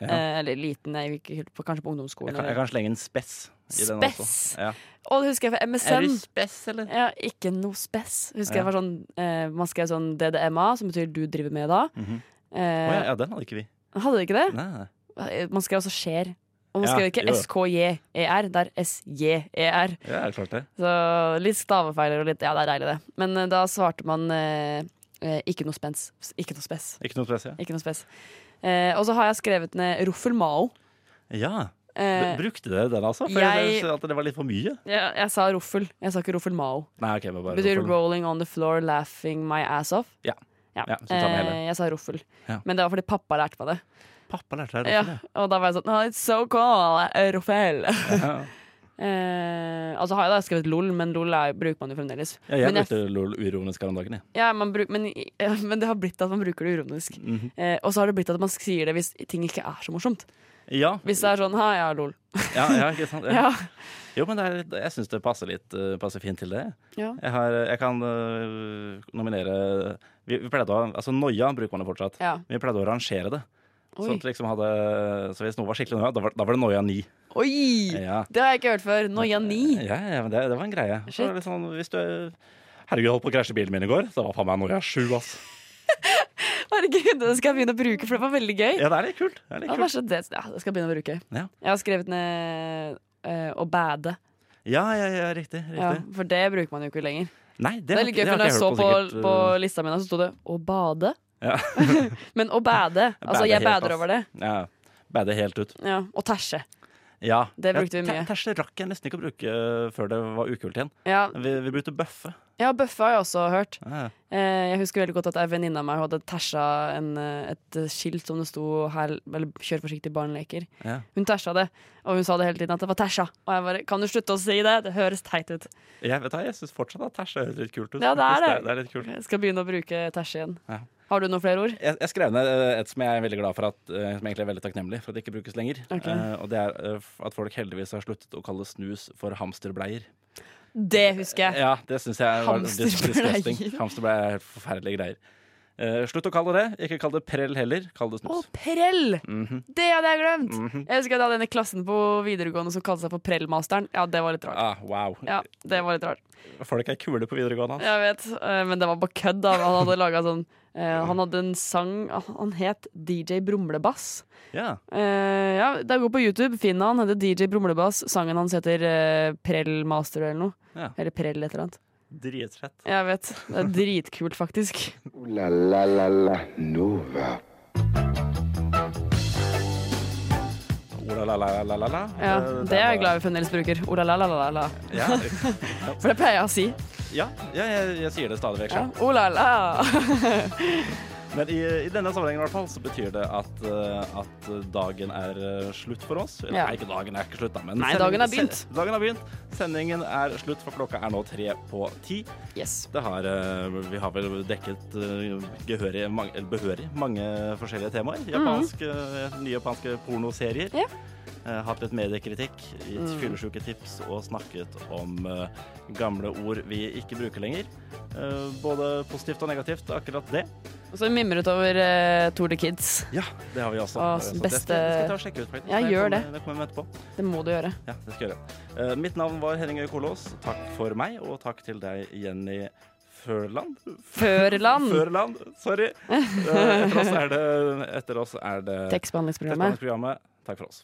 Speaker 3: Ja.
Speaker 4: Eh, eller liten, jeg gikk helt på, kanskje på
Speaker 3: jeg
Speaker 4: ungdomsskolen.
Speaker 3: kan, jeg
Speaker 4: eller-
Speaker 3: kan slenge en spess i den også.
Speaker 4: Spess!
Speaker 3: Ja.
Speaker 4: Og det husker jeg fra MSN.
Speaker 3: spess, eller?
Speaker 4: Ja, ikke noe spess. Husker
Speaker 3: Ja.
Speaker 4: jeg var sånn, eh, Man skrev sånn DDMA, som betyr 'du driver med da'.
Speaker 3: Mhm. Å, ja,
Speaker 4: eh,
Speaker 3: ja, den hadde ikke vi.
Speaker 4: Hadde det ikke det?
Speaker 3: Nei, nei.
Speaker 4: Man skrev også skjer. Og man
Speaker 3: Ja,
Speaker 4: skrev ikke
Speaker 3: jo.
Speaker 4: SKJER, E det er E SJER.
Speaker 3: Ja, det er klart det.
Speaker 4: Så litt stavefeiler og litt Ja, det er deilig, det. Men eh, da svarte man eh, eh, ikke noe spens. Ikke noe spes.
Speaker 3: Ikke noe spess, ja.
Speaker 4: Ikke noe spes. Eh, og så har jeg skrevet ned Ruffel Mao.
Speaker 3: ja.
Speaker 4: Eh,
Speaker 3: br- Brukte dere den, altså? For jeg
Speaker 4: jeg-
Speaker 3: synes at det var litt for mye.
Speaker 4: jeg, jeg sa Ruffel, jeg sa ikke Ruffel Mao.
Speaker 3: Nei, ok, men bare
Speaker 4: Betyr
Speaker 3: hvorfor-
Speaker 4: rolling on the floor, laughing my ass off.
Speaker 3: Ja.
Speaker 4: Ja.
Speaker 3: Ja, så tar vi hele.
Speaker 4: Eh, jeg sa Ruffel.
Speaker 3: Ja.
Speaker 4: Men det var fordi pappa lærte meg det.
Speaker 3: Pappa lærte deg
Speaker 4: Ja,
Speaker 3: det.
Speaker 4: og da var jeg sånn oh, It's so cool, eh, Ruffel.
Speaker 3: Ja.
Speaker 4: Eh, altså har jeg da skrevet LOL, men LOL er, bruker man jo fremdeles.
Speaker 3: Ja, jeg
Speaker 4: Men jeg-
Speaker 3: brukte LOL uironisk her om dagen, jeg.
Speaker 4: Ja, man bruk, men, ja, men det har blitt at man bruker det ironisk.
Speaker 3: Mhm.
Speaker 4: eh, og så har det blitt at man sier det hvis ting ikke er så morsomt.
Speaker 3: Ja,
Speaker 4: Hvis det er sånn ha, ja, lol.
Speaker 3: ja, ja, ikke sant? Ja.
Speaker 4: Ja.
Speaker 3: Jo, men det er, litt- jeg syns det passer litt eh, passer fint til det.
Speaker 4: Ja.
Speaker 3: Jeg, har, eh, jeg kan øh, nominere vi, vi pleide å Altså noia bruker man jo fortsatt.
Speaker 4: ja.
Speaker 3: Men Vi pleide å rangere det. Sånn
Speaker 4: Oi.
Speaker 3: at liksom hadde, så hvis noe var skikkelig noia, da var, da var det noia ni.
Speaker 4: Oi!
Speaker 3: Ja.
Speaker 4: Det har jeg ikke hørt før. Noia ni.
Speaker 3: Ja, ja, men det, det var en greie. Så
Speaker 4: Shit.
Speaker 3: var det sånn, hvis du Herregud, jeg holdt på å krasje bilen min i går. Så det var faen meg noia sju, ass.
Speaker 4: Herregud, det skal jeg begynne å bruke, for det var veldig gøy.
Speaker 3: Ja, det er litt kult. Det er litt
Speaker 4: Ja,
Speaker 3: kult.
Speaker 4: kanskje det, ja, det skal jeg begynne å bruke.
Speaker 3: Ja.
Speaker 4: Jeg har skrevet ned eh, å bade,
Speaker 3: Ja, ja, ja, riktig. riktig.
Speaker 4: ja, for det bruker man jo ikke lenger.
Speaker 3: Nei, det,
Speaker 4: Det
Speaker 3: har
Speaker 4: er litt
Speaker 3: ikke- det
Speaker 4: gøy, for
Speaker 3: har
Speaker 4: når jeg så
Speaker 3: ikke
Speaker 4: på,
Speaker 3: hørt
Speaker 4: på
Speaker 3: sikkert, øh,
Speaker 4: lista mi, nå, så sto det 'å bade'.
Speaker 3: Ja.
Speaker 4: Men å bade. Altså,
Speaker 3: Bade
Speaker 4: jeg
Speaker 3: helt,
Speaker 4: bader
Speaker 3: ass.
Speaker 4: over det.
Speaker 3: Ja, Bade helt ut.
Speaker 4: Ja, og tæsje.
Speaker 3: Ja.
Speaker 4: Det brukte vi
Speaker 3: Ja,
Speaker 4: mye.
Speaker 3: te- Tæsje rakk jeg nesten ikke å bruke øh, før det var ukult igjen.
Speaker 4: Ja,
Speaker 3: Vi, vi brukte bøffe.
Speaker 4: ja, bøffe har jeg også hørt.
Speaker 3: Ja.
Speaker 4: Eh, Jeg husker veldig godt at ei venninne av meg hadde tæsja en, eh, et eh, skilt som det sto her, eller 'Kjør forsiktig, barn leker'.
Speaker 3: Ja.
Speaker 4: Hun tæsja det, og hun sa det hele tiden at det var tæsja. Og jeg bare 'Kan du slutte å si det? Det høres teit ut'.
Speaker 3: Jeg, vet, da, jeg syns fortsatt at tæsje høres litt kult ut.
Speaker 4: Ja, det
Speaker 3: faktisk.
Speaker 4: er det.
Speaker 3: det er litt kult.
Speaker 4: Jeg skal begynne å bruke tæsje igjen.
Speaker 3: Ja.
Speaker 4: Har du noen flere ord?
Speaker 3: Jeg, jeg skrev ned øh, et som jeg er veldig glad for at, øh, som egentlig er veldig takknemlig for at det ikke brukes lenger.
Speaker 4: Ok.
Speaker 3: Eh, og det er øh, f- at folk heldigvis har sluttet å kalle snus for hamsterbleier.
Speaker 4: Det husker jeg.
Speaker 3: Ja, det syns jeg var dis-
Speaker 4: Hamsterbleier.
Speaker 3: disgusting. Hamsterbleier er helt forferdelige greier. Eh, slutt å kalle det det. Ikke kall det prell heller. Kall det
Speaker 4: Å,
Speaker 3: snus.
Speaker 4: prell!
Speaker 3: Mhm,
Speaker 4: Det hadde jeg glemt!
Speaker 3: mhm.
Speaker 4: Jeg husker jeg hadde en i klassen på videregående som kalte seg for Prellmasteren. Ja, det var litt rart.
Speaker 3: ah, wow.
Speaker 4: Ja, det var litt rart.
Speaker 3: Folk er kule på videregående. ass.
Speaker 4: Jeg vet, eh, men det var bare kødd. da. Han hadde laget sånn eh, Han hadde en sang Han het DJ Brumlebass.
Speaker 3: Ja.
Speaker 4: Eh, ja, det går på YouTube. Finn han. Heter DJ Brumlebass. Sangen hans heter eh, Prell Master eller noe.
Speaker 3: Ja.
Speaker 4: Eller Prell et eller annet.
Speaker 3: Dritfett.
Speaker 4: Jeg vet. Det er dritkult, faktisk.
Speaker 2: Ooh la la la la Nova.
Speaker 3: Ola-la-la-la-la-la.
Speaker 4: Ja, det er jeg glad vi fremdeles bruker. Ola-la-la-la-la.
Speaker 3: Ja,
Speaker 4: For det pleier jeg å si.
Speaker 3: ja, ja jeg, jeg sier det stadig vekk.
Speaker 4: Ja.
Speaker 3: Ja.
Speaker 4: Ola-la.
Speaker 3: Men i, i denne sammenhengen i hvert fall så betyr det at, eh, at dagen er eh, slutt for oss. Eller,
Speaker 4: Ja.
Speaker 3: Nei, ikke dagen er ikke slutt, da. Men
Speaker 4: Nei,
Speaker 3: sendingen-
Speaker 4: dagen er begynt.
Speaker 3: se- Dagen er begynt. Sendingen er slutt, for klokka er nå tre på ti.
Speaker 4: Yes.
Speaker 3: Det har, eh, vi har vel dekket eh, gehørig, mange, eller behørig mange forskjellige temaer. Japansk, eh, Nye japanske pornoserier.
Speaker 4: Mhm. Ja.
Speaker 3: Eh, hatt litt mediekritikk, gitt
Speaker 4: Mm.
Speaker 3: fyllesyke tips og snakket om eh, gamle ord vi ikke bruker lenger. Eh, både positivt og negativt, akkurat det.
Speaker 4: Og så mimret over eh, Tour de Kids.
Speaker 3: Ja, det har vi også.
Speaker 4: Å,
Speaker 3: Så
Speaker 4: som
Speaker 3: det skal, det skal
Speaker 4: beste-
Speaker 3: jeg ta og sjekke ut, faktisk.
Speaker 4: Ja,
Speaker 3: Det
Speaker 4: gjør
Speaker 3: kommer-
Speaker 4: det.
Speaker 3: Det kommer vi etterpå.
Speaker 4: Det må du gjøre.
Speaker 3: Ja, det skal jeg gjøre. Eh, mitt navn var Henning Øye Kolås. Takk for meg, og takk til deg, Jenny Førland.
Speaker 4: Førland.
Speaker 3: Førland, sorry. Eh, etter oss er det, etter oss er det
Speaker 4: Tekstbehandlingsprogrammet.
Speaker 3: Tekstbehandlingsprogrammet. Takk for oss.